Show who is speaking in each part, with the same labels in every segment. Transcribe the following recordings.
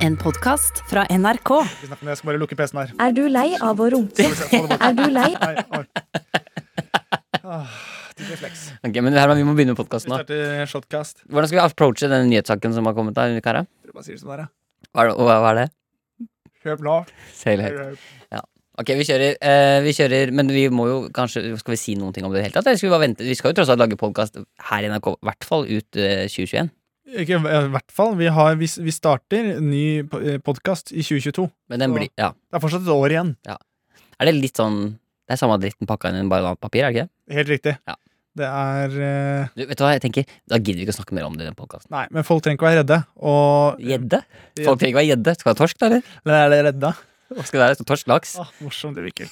Speaker 1: en podkast fra NRK.
Speaker 2: Vi snakker med- Jeg skal bare lukke PC-en her.
Speaker 3: Er du lei av å runke?
Speaker 2: Skal vi se, få det bort.
Speaker 3: Er du lei?
Speaker 2: Nei, oi. Ah, Tid til flex.
Speaker 4: Ok, men Herman, vi må begynne med podkasten
Speaker 2: Vi
Speaker 4: nå.
Speaker 2: starter shotcast.
Speaker 4: Hvordan skal vi approache den nyhetssaken som har kommet der, Kara?
Speaker 2: Dere bare sier det som det er. ja.
Speaker 4: Hva er det? Hva hva er det?
Speaker 2: Kjør blå.
Speaker 4: Se helt høyt. Ok, vi kjører, eh, vi kjører, men vi må jo kanskje Skal vi si noen ting om det i det hele tatt? Eller skal vi bare vente? Vi skal jo tross alt lage podkast her i NRK, i hvert fall ut eh, 2021.
Speaker 2: Ikke i hvert fall. Vi, har, vi, vi starter ny podkast i 2022.
Speaker 4: Men den
Speaker 2: Så-
Speaker 4: blir Ja.
Speaker 2: Det er fortsatt et år igjen.
Speaker 4: Er det litt sånn Det er samme dritten pakka inn i bare et annet papir, er det ikke det?
Speaker 2: Helt riktig.
Speaker 4: Ja.
Speaker 2: Det er eh,
Speaker 4: Du, vet du hva, jeg tenker Da gidder vi ikke å snakke mer om det i den podkasten.
Speaker 2: Nei, men folk trenger ikke være redde. Og
Speaker 4: Gjedde? Folk trenger ikke være gjedde. Skal det være torsk, da, eller?
Speaker 2: Men er det redda?
Speaker 4: Hva Skal det være torsk laks?
Speaker 2: Ah, morsomt det virker.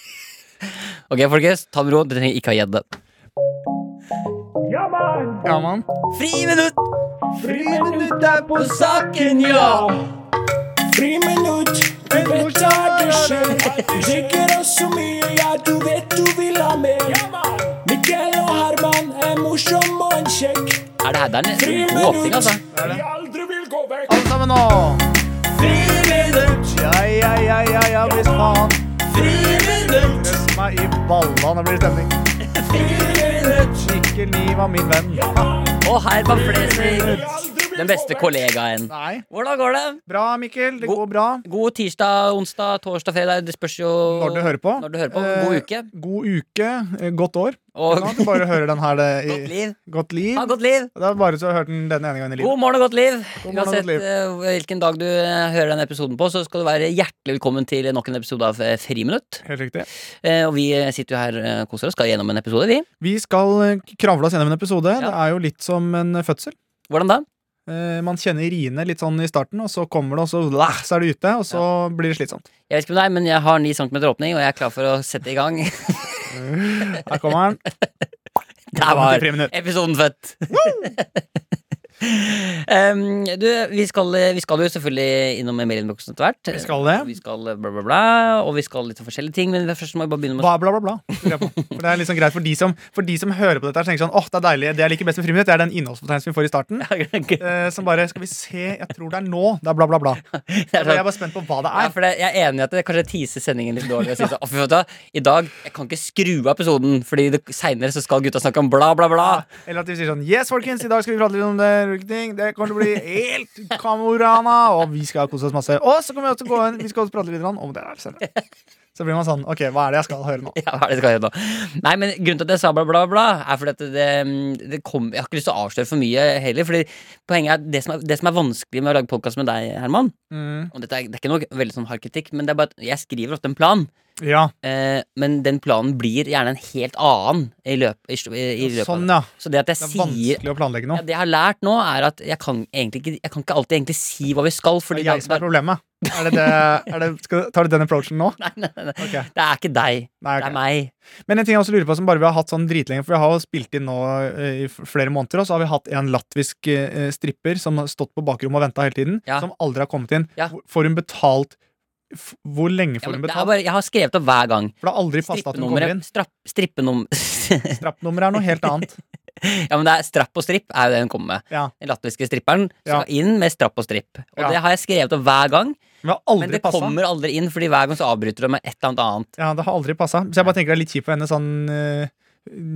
Speaker 4: Ok, folkens, ta med ro. Dere trenger ikke ha gjedde.
Speaker 2: Ja, mann.
Speaker 4: Friminutt! Friminutt er på saken, ja! Er det her det er en god åpning, altså?
Speaker 2: Alle sammen nå! Ja, ja, ja, ja, ja, hvis faen. Røst meg i balla når det blir stemning. Mikkel Niv var min venn.
Speaker 4: Og Herman Flesvig, den beste kollegaen.
Speaker 2: Nei.
Speaker 4: Hvordan går det?
Speaker 2: Bra, Mikkel. Det
Speaker 4: God-
Speaker 2: går bra.
Speaker 4: God tirsdag, onsdag, torsdag, fredag. Det spørs jo
Speaker 2: Når du hører på.
Speaker 4: Når du hører på. God
Speaker 2: Eh,
Speaker 4: uke.
Speaker 2: God uke. eh, Godt år.
Speaker 4: Og
Speaker 2: Sånn at du bare hører den her det, i
Speaker 4: godt liv.
Speaker 2: Godt liv.
Speaker 4: Ha godt liv.
Speaker 2: Det er bare så hørt den denne ene gangen i livet.
Speaker 4: God morgen og godt liv.
Speaker 2: God morgen og godt
Speaker 4: Uansett
Speaker 2: liv.
Speaker 4: eh, hvilken dag du eh, hører denne episoden på, så skal du være hjertelig velkommen til nok en episode av eh, Friminutt.
Speaker 2: Helt riktig.
Speaker 4: Eh, Og vi eh, sitter jo her eh, koser oss, skal gjennom en episode, vi.
Speaker 2: Vi skal eh, kravle oss gjennom en episode.
Speaker 4: Ja.
Speaker 2: Det er jo litt som en fødsel.
Speaker 4: Hvordan da?
Speaker 2: Eh, Man kjenner riene litt sånn i starten, og så kommer det, og så, la, så er det ute, og så blir det slitsomt.
Speaker 4: Jeg vet ikke med deg, men jeg har 9 cm åpning, og jeg er klar for å sette i gang.
Speaker 2: Her kommer den.
Speaker 4: Der var
Speaker 2: Friminutt.
Speaker 4: episoden født! um, du, vi skal, vi skal jo selvfølgelig innom mailinnboksen etter hvert.
Speaker 2: Vi skal det.
Speaker 4: Vi skal bla, bla, bla, og vi skal litt forskjellige ting, men først må vi bare begynne med
Speaker 2: Bla, bla, bla. bla. lurer jeg på. For det er liksom greit for de som, for de som hører på dette her, så tenker sånn åh, det er deilig. Det jeg liker best med friminutt, det er den innholdsfortegnelsen vi får i starten. Eh, som bare Skal vi se, jeg tror det er nå. Det er bla, bla, bla.
Speaker 4: Det er
Speaker 2: Eh, Jeg
Speaker 4: sånn-
Speaker 2: er bare spent på hva det
Speaker 4: Ja,
Speaker 2: er.
Speaker 4: for det, jeg er enig i at det kanskje teaser sendingen litt dårlig. Og si sånn, «Å, fy, vet du hva, I dag jeg kan ikke skru av episoden, Fordi det- seinere så skal gutta snakke om bla, bla, bla.
Speaker 2: Eller at de sier sånn Yes, folkens, i dag skal vi prate litt om det. og ulike ting. Det kommer til å bli helt kamorana, og vi skal kose oss masse. Og så kommer vi også gå inn, vi skal også prate litt om det der senere. Så blir man sånn Ok, hva er det jeg skal høre nå?
Speaker 4: Ja, hva er det jeg skal gjøre nå? Nei, men Grunnen til at jeg sa bla, bla, bla, er fordi at det, mm, det kom, jeg har ikke lyst til å avsløre for mye heller. Fordi poenget er at det som er, det som er vanskelig med å lage podkast med deg, Herman
Speaker 2: Mm.
Speaker 4: Og dette er, Det er ikke noe veldig sånn hard kritikk, men det er bare at jeg skriver ofte en plan.
Speaker 2: Ja,
Speaker 4: Eh, men den planen blir gjerne en helt annen i løp, i, sl- i, i løpet
Speaker 2: sånn,
Speaker 4: av det.
Speaker 2: ja.
Speaker 4: Så det at
Speaker 2: Det
Speaker 4: jeg
Speaker 2: er
Speaker 4: sier
Speaker 2: vanskelig å planlegge
Speaker 4: ja,
Speaker 2: noe.
Speaker 4: Det jeg har lært nå, er at jeg kan, egentlig ikke, jeg kan ikke alltid egentlig si hva vi skal.
Speaker 2: Det
Speaker 4: Fordi
Speaker 2: er jeg som er problemet. Er det det, er det, skal, tar du den approachen nå?
Speaker 4: Nei, nei, nei, nei.
Speaker 2: Ok.
Speaker 4: Det er ikke deg.
Speaker 2: Nei,
Speaker 4: Det
Speaker 2: ok.
Speaker 4: er meg.
Speaker 2: Men en ting jeg også lurer på som bare vi har hatt sånn dritlenge, for vi har jo spilt inn nå eh, i f- flere måneder, og så har vi hatt en latvisk eh, stripper som har stått på bakrommet og venta hele tiden,
Speaker 4: Ja.
Speaker 2: som aldri har kommet inn.
Speaker 4: Ja.
Speaker 2: Hvor- Får hun betalt f Hvor lenge
Speaker 4: Ja,
Speaker 2: får hun
Speaker 4: men det er
Speaker 2: betalt?
Speaker 4: bare, jeg har skrevet opp hver gang.
Speaker 2: For det har aldri passa at hun kommer inn.
Speaker 4: Strippenummeret strapp, strippenum,
Speaker 2: Strappnummeret er noe helt annet.
Speaker 4: Ja, men det er strapp og stripp er jo det hun kommer med.
Speaker 2: Ja.
Speaker 4: Den latviske stripperen
Speaker 2: Ja.
Speaker 4: skal inn med strapp og stripp. Og
Speaker 2: Ja.
Speaker 4: det har jeg skrevet opp hver gang,
Speaker 2: Men det har
Speaker 4: men
Speaker 2: aldri
Speaker 4: det
Speaker 2: passa.
Speaker 4: kommer aldri inn, fordi hver gang så avbryter de med et eller annet annet.
Speaker 2: Ja, det har aldri passa. Så jeg bare tenker det er litt kjipt for henne sånn eh,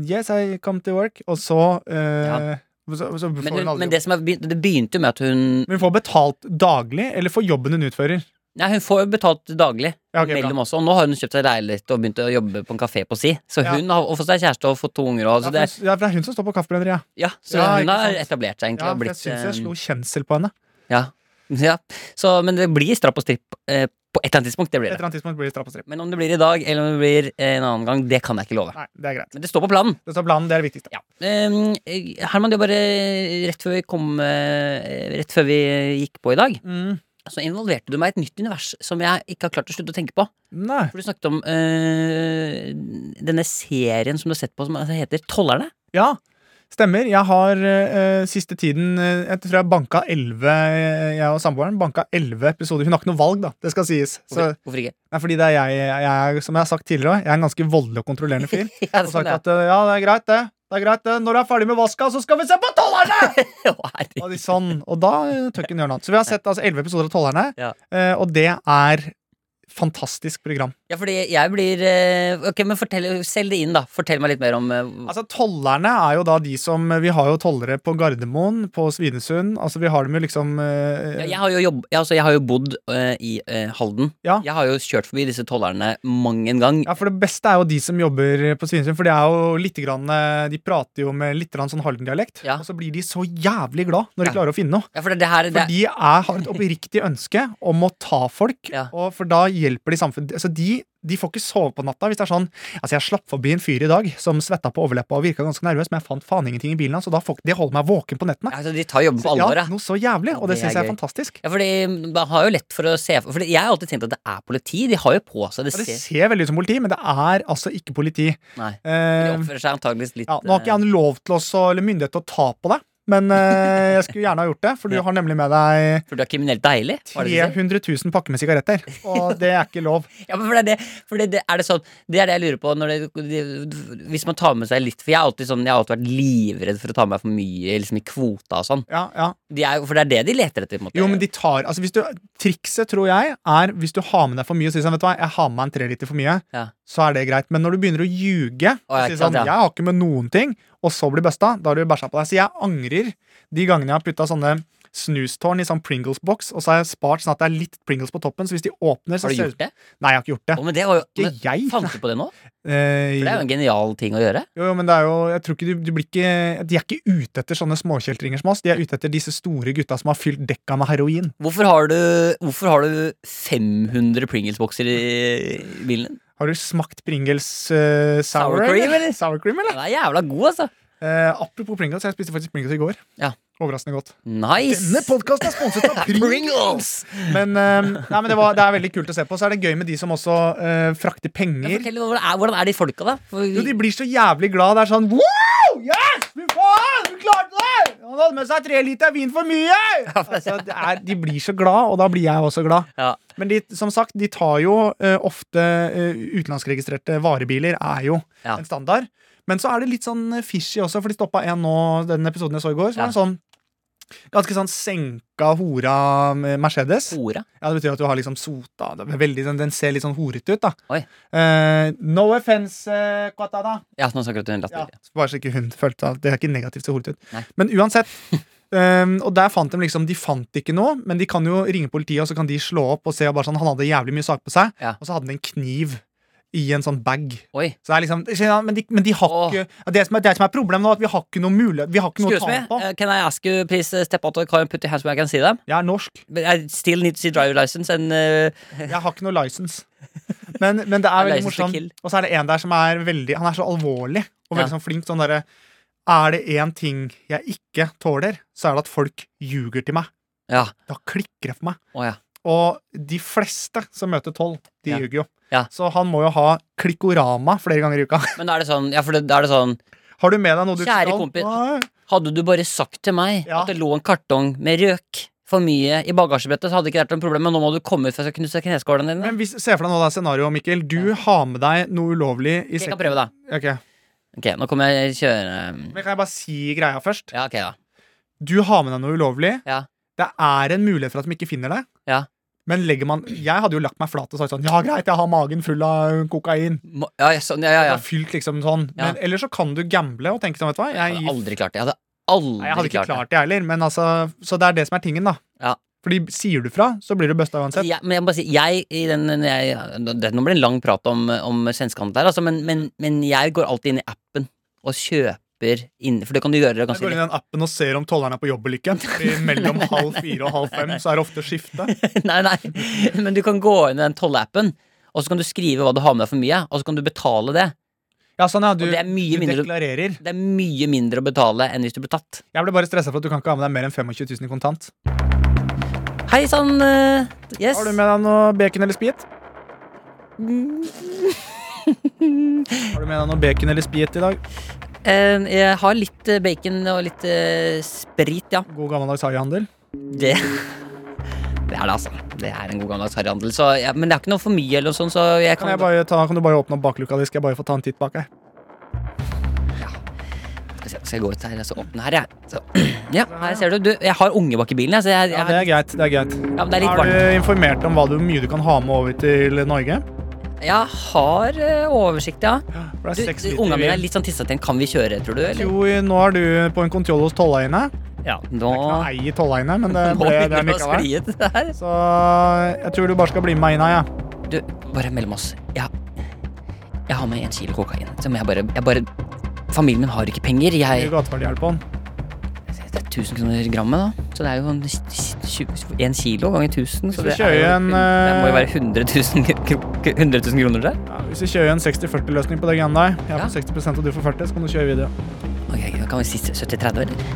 Speaker 2: Yes, I come to work, og så eh, Så, så får
Speaker 4: Men,
Speaker 2: hun
Speaker 4: hun,
Speaker 2: aldri
Speaker 4: men det, som er, begynt- det begynte jo med at hun
Speaker 2: Men hun får betalt daglig, eller for jobben hun utfører.
Speaker 4: Nei, hun får jo betalt daglig
Speaker 2: Ja, ok, bra.
Speaker 4: mellom også, og nå har hun kjøpt seg leilighet og begynt å jobbe på en kafé på si. Så
Speaker 2: Ja.
Speaker 4: hun har og fått seg kjæreste og fått to unger og
Speaker 2: Ja,
Speaker 4: så
Speaker 2: for
Speaker 4: altså det,
Speaker 2: hun- ja, for det er hun som står på kaffebrenneriet.
Speaker 4: ja, så
Speaker 2: Ja,
Speaker 4: hun
Speaker 2: ikke
Speaker 4: har
Speaker 2: sant.
Speaker 4: etablert seg egentlig.
Speaker 2: Ja,
Speaker 4: og
Speaker 2: for
Speaker 4: blitt,
Speaker 2: jeg syns jeg
Speaker 4: eh,
Speaker 2: slo kjensel på henne.
Speaker 4: Ja, ja. Så, men det blir strapp og stripp eh, på et eller annet tidspunkt. Det
Speaker 2: Et
Speaker 4: blir det.
Speaker 2: eller annet tidspunkt blir det strapp og stripp.
Speaker 4: Men om det blir i dag, eller om det blir eh, en annen gang, det kan jeg ikke love.
Speaker 2: Nei, det er greit.
Speaker 4: Men det står på planen.
Speaker 2: Det står planen, det er det viktigste.
Speaker 4: Ja. Em, eh, Herman, det var bare rett før vi kom eh, Rett før vi gikk på i dag,
Speaker 2: Mm.
Speaker 4: så involverte du meg i et nytt univers som jeg ikke har klart å slutte å tenke på.
Speaker 2: Nei.
Speaker 4: For du snakket om eh, denne serien som du har sett på, som altså heter Tollerne.
Speaker 2: Ja, stemmer. Jeg har eh, siste tiden eh, Jeg tror jeg banka 11 eh, jeg og samboeren banka 11 episoder. Hun har ikke noe valg, da. Det skal sies. Så,
Speaker 4: Hvorfor, hvorfor ikke?
Speaker 2: nei, fordi det er jeg, jeg er, Som jeg har sagt tidligere, også, jeg er en ganske voldelig og kontrollerende fyr.
Speaker 4: Ja,
Speaker 2: Og
Speaker 4: sånn,
Speaker 2: sagt
Speaker 4: ja.
Speaker 2: at eh, ja, det er greit, det. Det er greit, det. Når jeg er ferdig med vaska, så skal vi se på tollerne!
Speaker 4: Herregud.
Speaker 2: og, de sånn, og da eh, tør ikke han gjøre noe annet. Så vi har sett altså, 11 episoder av Tollerne,
Speaker 4: Ja.
Speaker 2: eh, og det er fantastisk program.
Speaker 4: Ja, fordi jeg blir eh, Ok, men fortell, selg det inn, da. Fortell meg litt mer om eh,
Speaker 2: Altså, Tollerne er jo da de som Vi har jo tollere på Gardermoen, på Svinesund. Altså, vi har dem jo liksom eh,
Speaker 4: ja, jeg, har jo jobb, ja, altså, jeg har jo bodd eh, i eh, Halden.
Speaker 2: Ja.
Speaker 4: Jeg har jo kjørt forbi disse tollerne mang en gang.
Speaker 2: Ja, for det beste er jo de som jobber på Svinesund, for de er jo litt grann, eh, De prater jo med litt grann sånn Halden-dialekt,
Speaker 4: Ja.
Speaker 2: og så blir de så jævlig glad når de
Speaker 4: Ja.
Speaker 2: klarer å finne noe.
Speaker 4: Ja, for det, det her
Speaker 2: For
Speaker 4: det,
Speaker 2: de er, har et oppriktig ønske om å ta folk,
Speaker 4: Ja.
Speaker 2: og for da hjelper de samfunnet. Altså, de, de får ikke sove på natta hvis det er sånn Altså, jeg slapp forbi en fyr i dag som svetta på overleppa og virka ganske nervøs, men jeg fant faen ingenting i bilen hans, og da får ikke- det holder meg våken på nettene.
Speaker 4: ja, altså, De tar jobben på alvor, ja.
Speaker 2: Ja, noe så jævlig,
Speaker 4: Ja,
Speaker 2: og det,
Speaker 4: det er
Speaker 2: synes syns jeg er
Speaker 4: gøy.
Speaker 2: fantastisk.
Speaker 4: Ja, fordi man har jo lett for å se Fordi jeg har alltid tenkt at det er politi. De har jo på seg det
Speaker 2: Ja, det
Speaker 4: ser,
Speaker 2: ser veldig ut som politi, men det er altså ikke politi.
Speaker 4: Nei. De
Speaker 2: Eh,
Speaker 4: oppfører seg antageligvis litt
Speaker 2: Ja, nå har ikke han lov til oss, eller myndighet til å ta på deg, men eh, jeg skulle gjerne ha gjort det, for du
Speaker 4: Ja.
Speaker 2: har nemlig med deg
Speaker 4: eh, For du er kriminelt deilig? var det det du sa?
Speaker 2: 300 000 pakker med sigaretter, og det er ikke lov.
Speaker 4: Ja, men for det, er det, for det, det, er det, sånn, det er det jeg lurer på når det, de- Hvis man tar med seg litt For jeg har alltid, sånn, jeg har alltid vært livredd for å ta med meg for mye liksom, i kvota og sånn.
Speaker 2: Ja, ja.
Speaker 4: De er, jo- for det er det de leter etter. på en måte.
Speaker 2: Jo, men de tar altså, hvis du, Trikset, tror jeg, er hvis du har med deg for mye og sier sånn, vet du hva, jeg har med meg en treliter for mye,
Speaker 4: Ja.
Speaker 2: så er det greit. Men når du begynner å ljuge og
Speaker 4: ja,
Speaker 2: sier
Speaker 4: ikke sant,
Speaker 2: sånn,
Speaker 4: ja.
Speaker 2: jeg har ikke med noen ting, og så blir bøsta, da har du bæsja på deg. Så jeg angrer de gangene jeg har putta sånne snustårn i sånn Pringles-boks, og så har jeg spart sånn at det er litt Pringles på toppen, så hvis de åpner, så ser
Speaker 4: Har du
Speaker 2: det
Speaker 4: gjort
Speaker 2: ut
Speaker 4: det?
Speaker 2: Nei, jeg har ikke gjort det.
Speaker 4: Å, men det var jo,
Speaker 2: Ikke
Speaker 4: men,
Speaker 2: jeg.
Speaker 4: fant du på det nå?
Speaker 2: Eh,
Speaker 4: For det er jo en genial ting å gjøre.
Speaker 2: Jo, jo, men det er jo Jeg tror ikke du, du blir ikke De er ikke ute etter sånne småkjeltringer som oss. De er ute etter disse store gutta som har fylt dekka med heroin.
Speaker 4: Hvorfor har du, hvorfor har du 500 Pringles-bokser i bilen?
Speaker 2: Har du smakt Pringles eh, sour,
Speaker 4: Sour cream, eller?
Speaker 2: Sour cream, eller?
Speaker 4: Den er jævla god, altså.
Speaker 2: Eh, apropos Pringles, jeg spiste faktisk Pringles i går.
Speaker 4: Ja.
Speaker 2: Overraskende godt.
Speaker 4: Nice.
Speaker 2: Denne podkasten er sponset av Pringles! Men, eh, nei, men det, var, det er veldig kult å se på. Så er det gøy med de som også eh, frakter
Speaker 4: Ja,
Speaker 2: penger.
Speaker 4: Fortell, hvordan, er, hvordan er de folka, da? For,
Speaker 2: Jo, de blir så jævlig glad. Det er sånn Wow! Yes! Fy faen! Du klarte det! Han hadde med seg tre liter vin for mye! Altså, det er, de blir så glad, og da blir jeg også glad.
Speaker 4: ja.
Speaker 2: Men de, som sagt, de tar jo eh, ofte eh, utenlandskregistrerte varebiler, er jo
Speaker 4: Ja.
Speaker 2: en standard. Men så er det litt sånn eh, fishy også, for de stoppa en nå, den episoden jeg så i går, som
Speaker 4: Ja.
Speaker 2: var en sånn ganske sånn senka hora eh, Mercedes.
Speaker 4: Hora.
Speaker 2: Ja, Det betyr at du har liksom sota det er veldig, sånn- Den ser litt sånn horete ut, da.
Speaker 4: Oi.
Speaker 2: Eh, no offense, uh, Quatana.
Speaker 4: Ja, nå snakker du til en
Speaker 2: Ja,
Speaker 4: latter. Ja.
Speaker 2: bare så ikke hun følte at Det er ikke negativt så horete ut.
Speaker 4: Nei.
Speaker 2: Men uansett. ehm, og der fant de liksom De fant ikke noe, men de kan jo ringe politiet, og så kan de slå opp og se. Og bare sånn, han hadde jævlig mye saker på seg,
Speaker 4: Ja.
Speaker 2: og så hadde han en kniv i en sånn bag.
Speaker 4: Oi.
Speaker 2: Så det er liksom skjønner du, Men de, men de har
Speaker 4: Åh.
Speaker 2: ikke ja, det, som er, det som er problemet nå, er at vi har ikke noe mulighet Vi har ikke noe å
Speaker 4: Excuse
Speaker 2: ta
Speaker 4: me,
Speaker 2: den på.
Speaker 4: uh, can I ask you please uh, step out of the car and put your hands where I can see them?
Speaker 2: Jeg er norsk.
Speaker 4: But I still need to see driver license and uh,
Speaker 2: Jeg har ikke noe license. Men, men det er veldig
Speaker 4: License to
Speaker 2: morsomt.
Speaker 4: kill.
Speaker 2: Og så er det en der som er veldig Han er så alvorlig og veldig
Speaker 4: Ja.
Speaker 2: sånn flink. Sånn derre Er det én ting jeg ikke tåler, så er det at folk ljuger til meg.
Speaker 4: Ja.
Speaker 2: Da klikker det for meg.
Speaker 4: Å ja.
Speaker 2: Og de fleste som møter tolv, de
Speaker 4: Ja.
Speaker 2: ljuger jo.
Speaker 4: Ja.
Speaker 2: Så han må jo ha klikkorama flere ganger i uka.
Speaker 4: Men da er det sånn, ja, for det, da er det sånn
Speaker 2: Har du med deg noe du
Speaker 4: Kjære
Speaker 2: skal?
Speaker 4: kompis.
Speaker 2: Nei.
Speaker 4: Hadde du bare sagt til meg
Speaker 2: Ja.
Speaker 4: at det lå en kartong med røk for mye i bagasjebrettet, så hadde det ikke vært noe problem, men nå må du komme ut for jeg skal knuse kneskålene dine.
Speaker 2: Men hvis, se for deg nå det er scenarioet, Mikkel. Du har med deg noe ulovlig i
Speaker 4: Ok, jeg kan
Speaker 2: sekken.
Speaker 4: prøve, da.
Speaker 2: Ok.
Speaker 4: Ok, nå kommer jeg kjøre um,
Speaker 2: Men kan jeg bare si greia først?
Speaker 4: Ja, ok, da.
Speaker 2: Du har med deg noe ulovlig.
Speaker 4: Ja.
Speaker 2: Det er en mulighet for at de ikke finner det.
Speaker 4: Ja.
Speaker 2: Men legger man Jeg hadde jo lagt meg flat og sagt sånn Ja, greit, jeg har magen full av kokain.
Speaker 4: Må- Ja, ja, sånn, ja, ja,
Speaker 2: Ja.
Speaker 4: ja.
Speaker 2: Fylt liksom sånn.
Speaker 4: Ja.
Speaker 2: Men, eller så kan du gamble og tenke sånn, vet du hva.
Speaker 4: Jeg
Speaker 2: Jeg
Speaker 4: hadde
Speaker 2: gir
Speaker 4: aldri klart det. Jeg hadde aldri
Speaker 2: Nei, jeg hadde ikke
Speaker 4: klart, det.
Speaker 2: klart det heller, men altså Så det er det som er tingen, da.
Speaker 4: Ja.
Speaker 2: Fordi sier du fra, så blir du busta
Speaker 4: Altså,
Speaker 2: uansett.
Speaker 4: Jeg, men jeg må bare si, jeg, i den, når jeg, det, Nå blir det en lang prat om, om svenskehandel her, altså, men, men, men jeg går alltid inn i appen og kjøper inn, for det kan du gjøre
Speaker 2: Jeg
Speaker 4: ganske
Speaker 2: går inn i
Speaker 4: lett.
Speaker 2: den appen og ser om tolleren er på jobb eller ikke. Fordi mellom halv fire og halv fem så er det ofte skifte.
Speaker 4: Nei, nei, men du kan gå inn i den tollappen, og så kan du skrive hva du har med deg for mye, og så kan du betale det.
Speaker 2: Ja, sånn ja, du,
Speaker 4: Og det er mye
Speaker 2: du
Speaker 4: mindre-
Speaker 2: deklarerer.
Speaker 4: Det er mye mindre å betale enn hvis du blir tatt.
Speaker 2: Jeg ble bare stressa for at du kan ikke ha med deg mer enn 25 000 i kontant.
Speaker 4: Hei sann, eh, yes.
Speaker 2: Har du med deg noe bacon eller spit? Har du med deg noe bacon eller spit i dag?
Speaker 4: Eh, jeg har litt eh, bacon og litt eh, sprit, ja.
Speaker 2: God gammeldags haihandel.
Speaker 4: Det det er det, altså. Det er en god gammeldags harryhandel. Så, ja, men det er ikke noe for mye, eller noe sånt, så jeg kan,
Speaker 2: Kan, jeg bare ta, kan du bare åpne opp bakluka di, skal jeg bare få ta en titt bak her?
Speaker 4: skal jeg gå ut her og så åpne her, jeg. Så, ja, her ser du. du. Jeg har unge bak i bilen, jeg, så jeg,
Speaker 2: Ja,
Speaker 4: jeg
Speaker 2: det er greit. det er greit
Speaker 4: ja, men det er litt
Speaker 2: Har
Speaker 4: varmt.
Speaker 2: du informert om hva du, hvor mye du kan ha med over til Norge?
Speaker 4: Jeg har eh, oversikt, ja.
Speaker 2: For det
Speaker 4: Du,
Speaker 2: er seks
Speaker 4: du,
Speaker 2: liter
Speaker 4: Ungene mine er
Speaker 2: vin.
Speaker 4: litt sånn tissetent. Kan vi kjøre, tror du? Eller?
Speaker 2: Jo, nå er du på en kontroll hos tollaiene.
Speaker 4: Ja,
Speaker 2: Det
Speaker 4: nå
Speaker 2: er ikke noe ei i tollaiene, men det,
Speaker 4: Nå
Speaker 2: ble, det er
Speaker 4: begynner det å
Speaker 2: likevel.
Speaker 4: skli ut her.
Speaker 2: Så jeg tror du bare skal bli med meg inn her, ja.
Speaker 4: Du, bare mellom oss. Jeg, jeg har med en kilo kokain. Som jeg bare, jeg bare Familien min har ikke penger.
Speaker 2: Mye
Speaker 4: Jeg
Speaker 2: gateverdihjelp på den.
Speaker 4: Det er 1000 kroner grammet, da. Så det er jo sånn en s- s- tju- en kilo ganger 1000.
Speaker 2: Hvis vi
Speaker 4: Så det, er jo,
Speaker 2: kjører en,
Speaker 4: det må jo
Speaker 2: eh,
Speaker 4: være 100 000, kro- 100 000 kroner der.
Speaker 2: Ja, hvis vi kjører en 60-40-løsning på det greiene der, jeg
Speaker 4: Ja.
Speaker 2: får 60 og du får 40, så kan du kjøre video.
Speaker 4: Ok, ok, Kan vi si 70-30, eller?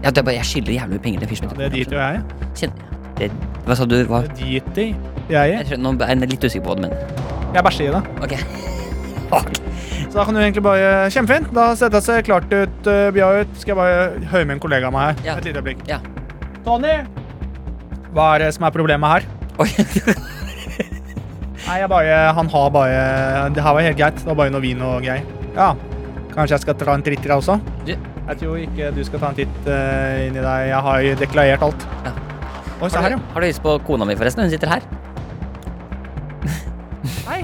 Speaker 4: Ja, det er bare, jeg skylder jævlig mye penger til fyren.
Speaker 2: Det driter jo jeg i.
Speaker 4: Kjenn- det- Hva sa du? Hva?
Speaker 2: Det driter jeg i.
Speaker 4: Jeg skjønner, nå er jeg litt usikker på hva du mener.
Speaker 2: Jeg bæsjer i det.
Speaker 4: Ok.
Speaker 2: Så da kan du egentlig bare eh, Kjempefint. Da setter jeg seg klart ut, eh, Bia ut. Skal jeg bare høre med en kollega av meg her.
Speaker 4: Ja.
Speaker 2: Et lite øyeblikk.
Speaker 4: Ja.
Speaker 2: Tony! Hva er det som er problemet her?
Speaker 4: Oi.
Speaker 2: Nei, jeg bare Han har bare Det her var helt greit. Det var bare noe vin og greier. Ja. Kanskje jeg skal ta en titt i deg også?
Speaker 4: Du-
Speaker 2: Jeg tror ikke du skal ta en titt eh, inn i deg. Jeg har jo deklarert alt.
Speaker 4: Ja.
Speaker 2: Oi, se
Speaker 4: Har
Speaker 2: her,
Speaker 4: du,
Speaker 2: ja.
Speaker 4: har du hilst på kona mi, forresten? Hun sitter her.
Speaker 2: Hei.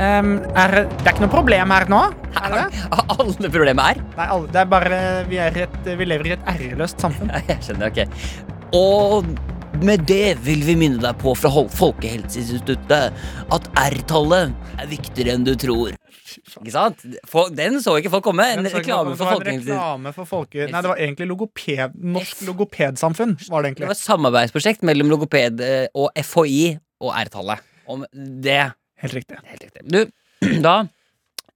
Speaker 2: Em, er, det er ikke noe problem her nå? Er det?
Speaker 4: Alle problemer er
Speaker 2: Nei, alle, det er bare Vi, er et, vi lever i et æreløst samfunn.
Speaker 4: Ja, Jeg skjønner, ok. Og med det vil vi minne deg på fra Hol- Folkehelseinstituttet at R-tallet er viktigere enn du tror. Ikke sant? Fol- den så ikke folk komme. En
Speaker 2: Jeg så ikke
Speaker 4: reklame
Speaker 2: det
Speaker 4: for
Speaker 2: var en
Speaker 4: Folkehelseinstituttet.
Speaker 2: reklame for folke... Nei, det var egentlig logoped... Norsk logopedsamfunn. var det
Speaker 4: Det
Speaker 2: egentlig.
Speaker 4: var et samarbeidsprosjekt mellom logoped eh, og FHI og R-tallet. Om det.
Speaker 2: Helt riktig.
Speaker 4: Helt riktig. Du, da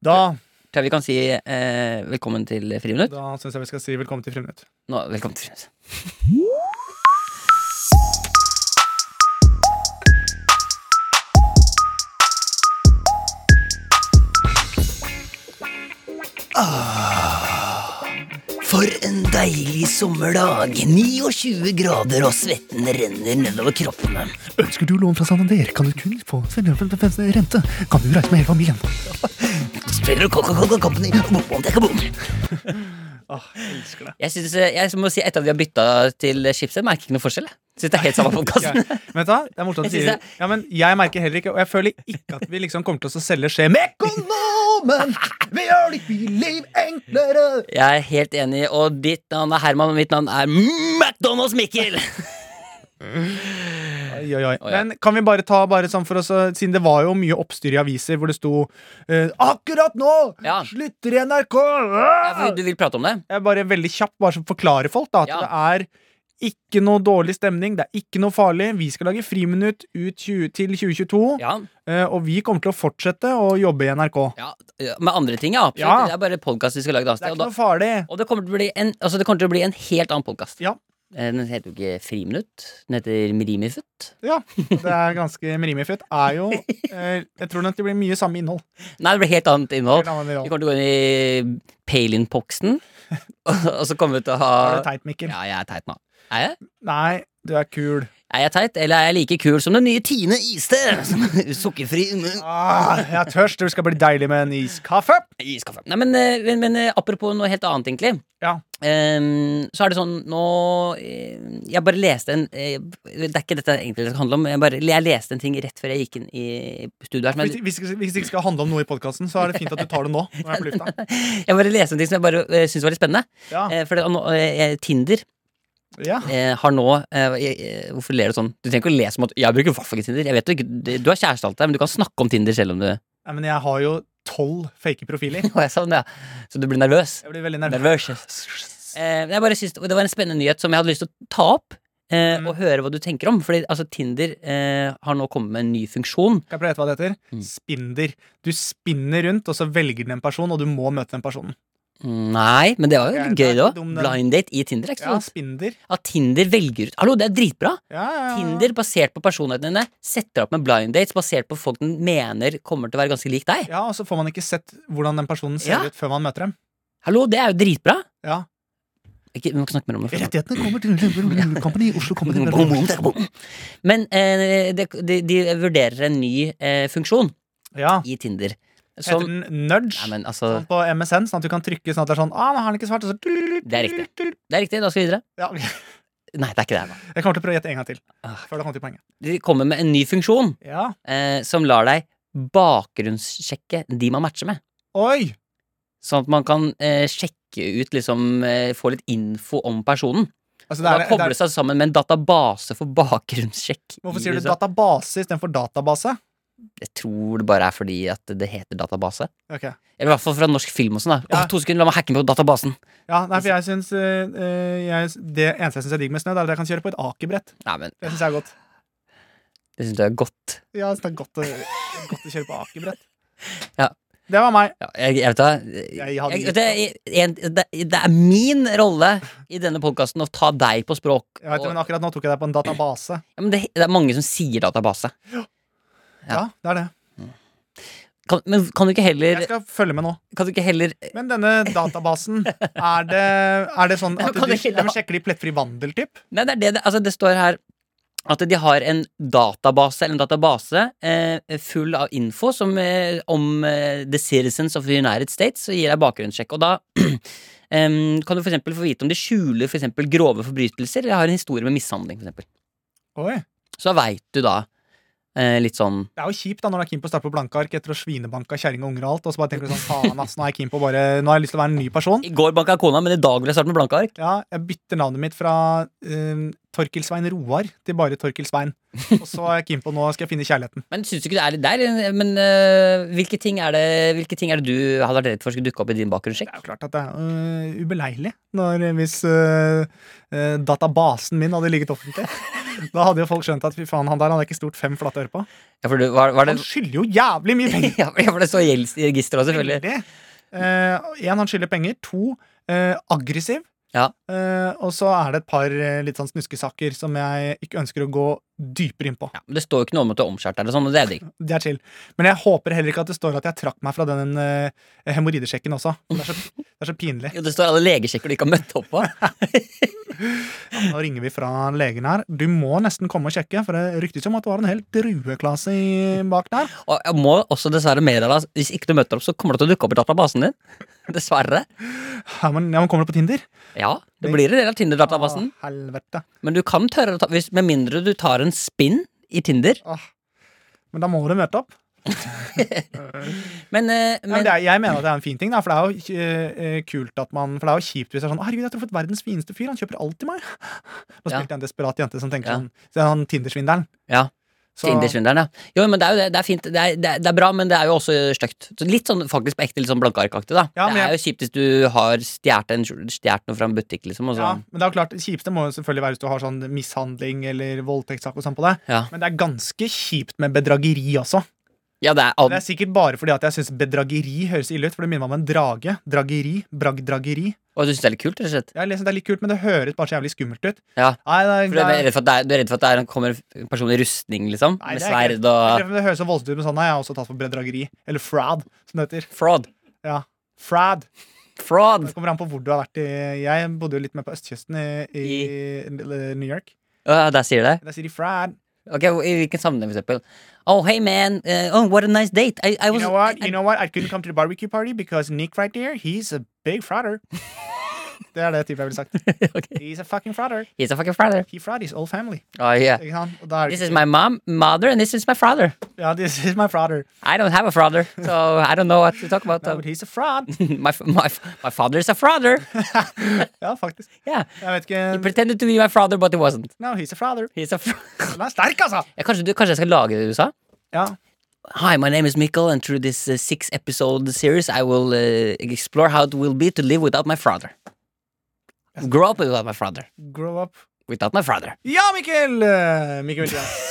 Speaker 2: Da,
Speaker 4: tror jeg vi kan si eh, velkommen til Friminutt.
Speaker 2: da syns jeg vi skal si velkommen til Friminutt.
Speaker 4: Nå, velkommen til Friminutt. Ah, For en deilig sommerdag. 29 grader, og svetten renner nedover kroppene.
Speaker 2: Ønsker du lån fra Santander, kan du kun få 5 rente. Kan du reise med hele familien?
Speaker 4: Spiller Coca-Cola Company Boom, dekka, boom.
Speaker 2: Åh, jeg elsker det.
Speaker 4: Jeg synes, eh, jeg må si Etter at vi har bytta til chipset, merker jeg ikke noe forskjell. jeg. Synes det er helt samme podkasten.
Speaker 2: Ja. Vet du, hva? det er morsomt at du
Speaker 4: Jeg
Speaker 2: sier
Speaker 4: synes
Speaker 2: det. Ja, men jeg merker heller ikke, og jeg føler ikke at vi liksom kommer til å selge skje med økonomen. Vi gjør ditt liv enklere.
Speaker 4: Jeg er helt enig, og ditt navn er Herman, og mitt navn er McDonald's Mikkel!
Speaker 2: Oi, oi, oi.
Speaker 4: Å, ja.
Speaker 2: Men kan vi bare ta bare sånn for oss å- Siden det var jo mye oppstyr i aviser hvor det sto eh, 'Akkurat nå
Speaker 4: Ja.
Speaker 2: slutter NRK!'
Speaker 4: Ja, for du vil prate om det?
Speaker 2: Jeg bare veldig kjapt bare så forklare folk da, at
Speaker 4: Ja.
Speaker 2: det er ikke noe dårlig stemning, det er ikke noe farlig. Vi skal lage friminutt ut 20, til 2022,
Speaker 4: Ja.
Speaker 2: eh, og vi kommer til å fortsette å jobbe i NRK.
Speaker 4: ja. Med andre ting, ja. Absolutt.
Speaker 2: Ja.
Speaker 4: Det er bare podkast vi skal lage da.
Speaker 2: Det er
Speaker 4: Og,
Speaker 2: ikke
Speaker 4: da,
Speaker 2: noe farlig.
Speaker 4: og det, kommer til å bli en, altså, det kommer til å bli en helt annen podkast.
Speaker 2: Ja.
Speaker 4: Den heter jo ikke Friminutt. Den heter Rimifutt.
Speaker 2: Ja, det er ganske Merimifit er jo eh, Jeg tror nok det blir mye samme innhold.
Speaker 4: Nei, det blir helt annet innhold.
Speaker 2: Helt annet
Speaker 4: Vi
Speaker 2: innhold.
Speaker 4: kommer til å gå inn i Palin-boksen, og og så kommer vi til å ha
Speaker 2: Er det teit, Mikkel?
Speaker 4: Ja, jeg er teit nå. Er jeg?
Speaker 2: Nei, du er kul.
Speaker 4: Er jeg teit, eller er jeg like kul som den nye Tine Iste? Sukkerfri med
Speaker 2: Ah, jeg er tørst. Det skal bli deilig med en iskaffe.
Speaker 4: I skaffe. Nei, men, eh, men, men eh, apropos noe helt annet, egentlig.
Speaker 2: Ja.
Speaker 4: Ehm, så er det sånn nå eh, Jeg bare leste en eh, Det er ikke dette egentlig det skal handle om. Jeg, bare, jeg leste en ting rett før jeg gikk inn i studio her. Som
Speaker 2: Hvis,
Speaker 4: jeg,
Speaker 2: hvis, hvis det ikke skal handle om noe i podkasten, så er det fint at du tar det nå. Når jeg er på lufta.
Speaker 4: jeg bare leste en ting som jeg bare eh, syntes var litt spennende.
Speaker 2: Ja,
Speaker 4: Eh, for det, nå, eh, Tinder
Speaker 2: ja.
Speaker 4: eh, har nå eh, jeg, eh, Hvorfor ler du sånn? Du trenger ikke å le som at Jeg bruker i hvert fall ikke Tinder. Jeg vet du ikke, du har kjæreste alt der, men du kan snakke om Tinder selv om du Å,
Speaker 2: Nei, Men jeg har jo tolv fake profiler.
Speaker 4: jeg sa den, ja. Så du blir nervøs.
Speaker 2: Jeg blir veldig nervøs.
Speaker 4: Nervøs. Eh, jeg bare synes, og det var en spennende nyhet som jeg hadde lyst til å ta opp. Eh,
Speaker 2: Mm.
Speaker 4: Og høre hva du tenker om. Fordi altså, Tinder eh, har nå kommet med en ny funksjon.
Speaker 2: Skal jeg prøve å gjette hva det heter?
Speaker 4: Mm.
Speaker 2: Spinder. Du spinner rundt, og så velger den en person, og du må møte den personen.
Speaker 4: Nei, men det var jo
Speaker 2: Ja,
Speaker 4: litt
Speaker 2: det er
Speaker 4: gøy,
Speaker 2: ikke
Speaker 4: det òg.
Speaker 2: dum, den.
Speaker 4: Blind date i Tinder. er Ikke
Speaker 2: Ja,
Speaker 4: sant?
Speaker 2: Sånn spinder.
Speaker 4: At Tinder velger ut Hallo, det er dritbra!
Speaker 2: Ja, ja, ja.
Speaker 4: Tinder, basert på personligheten dine, setter opp med blind dates basert på folk den mener kommer til å være ganske lik deg.
Speaker 2: Ja, og så får man ikke sett hvordan den personen ser
Speaker 4: Ja.
Speaker 2: ut før man møter dem.
Speaker 4: Hallo, det er jo dritbra!
Speaker 2: Ja.
Speaker 4: Ikke, vi må ikke snakke mer om det. for-
Speaker 2: Rettighetene kommer til Kampen i Oslo
Speaker 4: Men eh, de, de, de vurderer en ny eh, funksjon
Speaker 2: Ja,
Speaker 4: i Tinder
Speaker 2: Heter
Speaker 4: som
Speaker 2: den nudge
Speaker 4: Sånn- Nei, men altså
Speaker 2: sånn på MSN, sånn at du kan trykke sånn at det er sånn ah, nå har han ikke svart, og så
Speaker 4: Det er riktig. Det er riktig, da skal vi videre.
Speaker 2: Ja, ok.
Speaker 4: Nei, det er ikke det. da
Speaker 2: Jeg kommer til å prøve å gjette en gang til.
Speaker 4: Ah.
Speaker 2: Før det kommer til poenget.
Speaker 4: De kommer med en ny funksjon
Speaker 2: Ja.
Speaker 4: eh, som lar deg bakgrunnssjekke de man matcher med.
Speaker 2: Oi!
Speaker 4: Sånn at man kan eh, sjekke ut, liksom eh, få litt info om personen.
Speaker 2: Altså, det
Speaker 4: Da
Speaker 2: er, det
Speaker 4: koble
Speaker 2: er,
Speaker 4: seg sammen med en database for bakgrunnssjekk. i
Speaker 2: hvorfor sier du
Speaker 4: USA.
Speaker 2: database istedenfor database?
Speaker 4: Jeg tror det bare er fordi at det heter database.
Speaker 2: Ok.
Speaker 4: Eller i hvert fall fra norsk film og sånn. da.
Speaker 2: Ja.
Speaker 4: Åh, to sekunder, la meg hacke meg på databasen!
Speaker 2: Ja, nei, for jeg syns Det eneste jeg syns er digg med snø, det er at jeg kan kjøre på et akebrett.
Speaker 4: Nei, men
Speaker 2: Det syns jeg er godt.
Speaker 4: det syns jeg er godt.
Speaker 2: Ja, det er godt å, godt å kjøre på akebrett.
Speaker 4: Ja.
Speaker 2: Det var meg.
Speaker 4: Ja, jeg, jeg vet da
Speaker 2: Jeg hadde
Speaker 4: jeg,
Speaker 2: gitt
Speaker 4: vet da, jeg, en, det, det er min rolle i denne podkasten å ta deg på språk.
Speaker 2: Jeg vet,
Speaker 4: og-
Speaker 2: men akkurat nå tok jeg deg på en database.
Speaker 4: ja, men det, det er mange som sier database. Ja.
Speaker 2: Ja, det er det.
Speaker 4: Kan, men kan du ikke heller
Speaker 2: Jeg skal følge med nå.
Speaker 4: Kan du ikke heller
Speaker 2: Men denne databasen, er det, er det sånn
Speaker 4: Men
Speaker 2: at du,
Speaker 4: kan
Speaker 2: du,
Speaker 4: du ikke la-
Speaker 2: de sjekker de plettfri vandel-typ?
Speaker 4: Nei, det er det det Altså, det står her at de har en database eller en database eh, full av info som, eh, om eh, the citizens of the United States, og gir deg bakgrunnssjekk. Og da em, kan du for eksempel få vite om de skjuler for eksempel grove forbrytelser eller har en historie med mishandling. For eksempel.
Speaker 2: Oi.
Speaker 4: Så da veit du da eh, litt sånn
Speaker 2: Det er jo kjipt da når du er keen på å starte på blanke ark etter å svinebanke kjerring og unger og alt, og så bare tenker du sånn faen, ass, nå er jeg keen på å bare Nå har jeg lyst til å være en ny person.
Speaker 4: I går banka kona, men i dag vil jeg starte med blanke ark.
Speaker 2: Ja, jeg bytter navnet mitt fra eh, Torkil Svein Roar til bare Torkil Svein. Og så er jeg keen på nå skal jeg finne kjærligheten.
Speaker 4: Men syns du ikke det er litt der? Men eh, hvilke, ting er det, hvilke ting er det du hadde vært redd for skulle dukke opp i din bakgrunnssjekk?
Speaker 2: Det er jo klart at det er øh, ubeleilig når, hvis øh, øh, databasen min hadde ligget offentlig. Da hadde jo folk skjønt at fy faen, han der han er ikke stort fem flate øre på.
Speaker 4: Ja, for du, var, var det
Speaker 2: Han skylder jo jævlig mye penger!
Speaker 4: Ja, for det står gjeldsregisteret også, selvfølgelig.
Speaker 2: Veldig. Eh, en, han skylder penger. To, eh, aggressiv.
Speaker 4: Ja.
Speaker 2: Eh, og så er det et par eh, litt sånn snuskesaker som jeg ikke ønsker å gå dypere inn på.
Speaker 4: Ja, men det står jo ikke noe om at du er omskjært eller sånn, og det er digg.
Speaker 2: Det er chill. Men jeg håper heller ikke at det står at jeg trakk meg fra den eh, hemoroidesjekken også. Det er, så, det er så pinlig.
Speaker 4: Jo, det står alle legesjekker du ikke har møtt opp på.
Speaker 2: Nå ringer vi fra legen her. Du må nesten komme og sjekke, for det ryktes om at du har en hel drueklase i- bak der.
Speaker 4: Og jeg må også dessverre meddele deg, hvis ikke du møter opp, så kommer det til å dukke opp i databasen din. Dessverre.
Speaker 2: Ja, men, ja, men kommer du på Tinder?
Speaker 4: Ja, det blir en del av Tinder-databasen.
Speaker 2: Å, helvete.
Speaker 4: Men du kan tørre å ta hvis, Med mindre du tar en spinn i Tinder.
Speaker 2: Åh. Men da må du møte opp.
Speaker 4: Men, eh,
Speaker 2: Ja, men
Speaker 4: men
Speaker 2: det er, jeg mener at det er en fin ting, da, for det er jo eh, eh, kult at man For det er jo kjipt hvis det er sånn Herregud, jeg har truffet verdens fineste fyr, han kjøper alt til meg. Nå
Speaker 4: Ja.
Speaker 2: spilte jeg en desperat jente som tenker
Speaker 4: Ja.
Speaker 2: sånn Se han Tinder-svindelen.
Speaker 4: Ja.
Speaker 2: Så-
Speaker 4: Tinder-svindelen, ja. Jo, men det er jo det. Det er fint. Det er, det er, det er bra, men det er jo også stygt. Så Litt sånn faktisk på ekte, litt sånn blankearkaktig, da.
Speaker 2: Ja, men
Speaker 4: det er jo kjipt hvis du har stjålet noe fra en butikk, liksom, og
Speaker 2: Ja,
Speaker 4: sånn.
Speaker 2: men det er jo klart, det kjipeste må jo selvfølgelig være hvis du har sånn mishandling eller voldtektssak og sånn på deg.
Speaker 4: Ja.
Speaker 2: Men det er ganske kjipt med bedrageri også.
Speaker 4: Ja, det er,
Speaker 2: Det er sikkert bare fordi at jeg syns bedrageri høres ille ut, for det minner meg om en drage. Drageri. Bragdrageri.
Speaker 4: Og du syns det er litt kult, rett og slett?
Speaker 2: Jeg leser, det er litt kult, men det høres bare så jævlig skummelt ut.
Speaker 4: Ja.
Speaker 2: Nei, det er,
Speaker 4: For du er redd for at det, er, du er redd for at det er, kommer en person i rustning, liksom?
Speaker 2: Nei,
Speaker 4: med
Speaker 2: det er ikke-
Speaker 4: sverd og
Speaker 2: det, det høres så voldsomt ut, men sånn nei, jeg har også tatt for bedrageri. Eller fraud, som det heter.
Speaker 4: Fraud.
Speaker 2: Ja. Frad.
Speaker 4: Fraud!
Speaker 2: Det kommer an på hvor du har vært. i Jeg bodde jo litt mer på østkysten i, i, New York.
Speaker 4: Ja, der sier det.
Speaker 2: Der sier de frad.
Speaker 4: Ok, I hvilken sammenheng, for eksempel? Oh, hey man, eh, oh, what a nice date. I, I
Speaker 2: You
Speaker 4: was,
Speaker 2: know what?
Speaker 4: I,
Speaker 2: You know what? I couldn't come to the barbecue party because Nick right there, he's a big fraudder. Det er det type jeg ville sagt.
Speaker 4: Ok.
Speaker 2: He's a fucking fraudder.
Speaker 4: He's a fucking father.
Speaker 2: He fraud his whole family.
Speaker 4: Oh, yeah.
Speaker 2: Ikke sant? Og da er det
Speaker 4: This
Speaker 2: ikke-
Speaker 4: is my mom, mother, and this is my father.
Speaker 2: Ja, this is my fraudder.
Speaker 4: I don't have a father, so I don't know what to talk about.
Speaker 2: No, but he's a fraud.
Speaker 4: my, f- my, f- my father is a frauder.
Speaker 2: Ja, faktisk.
Speaker 4: Yeah.
Speaker 2: Jeg vet
Speaker 4: He
Speaker 2: ikke
Speaker 4: pretended to be my father, but he wasn't.
Speaker 2: No, he's a fraudder.
Speaker 4: He's a fr-
Speaker 2: Han er sterk, altså!
Speaker 4: ja, kanskje, du, kanskje jeg skal lage det i USA?
Speaker 2: Ja.
Speaker 4: Hi, my name is Mikkel, and through this uh, six episode series, I will uh, explore how it will be to live without my father. Grow up without my father.
Speaker 2: Grow up.
Speaker 4: Without my father.
Speaker 2: Ja, Mikkel! Eh, Mikkel Mathias.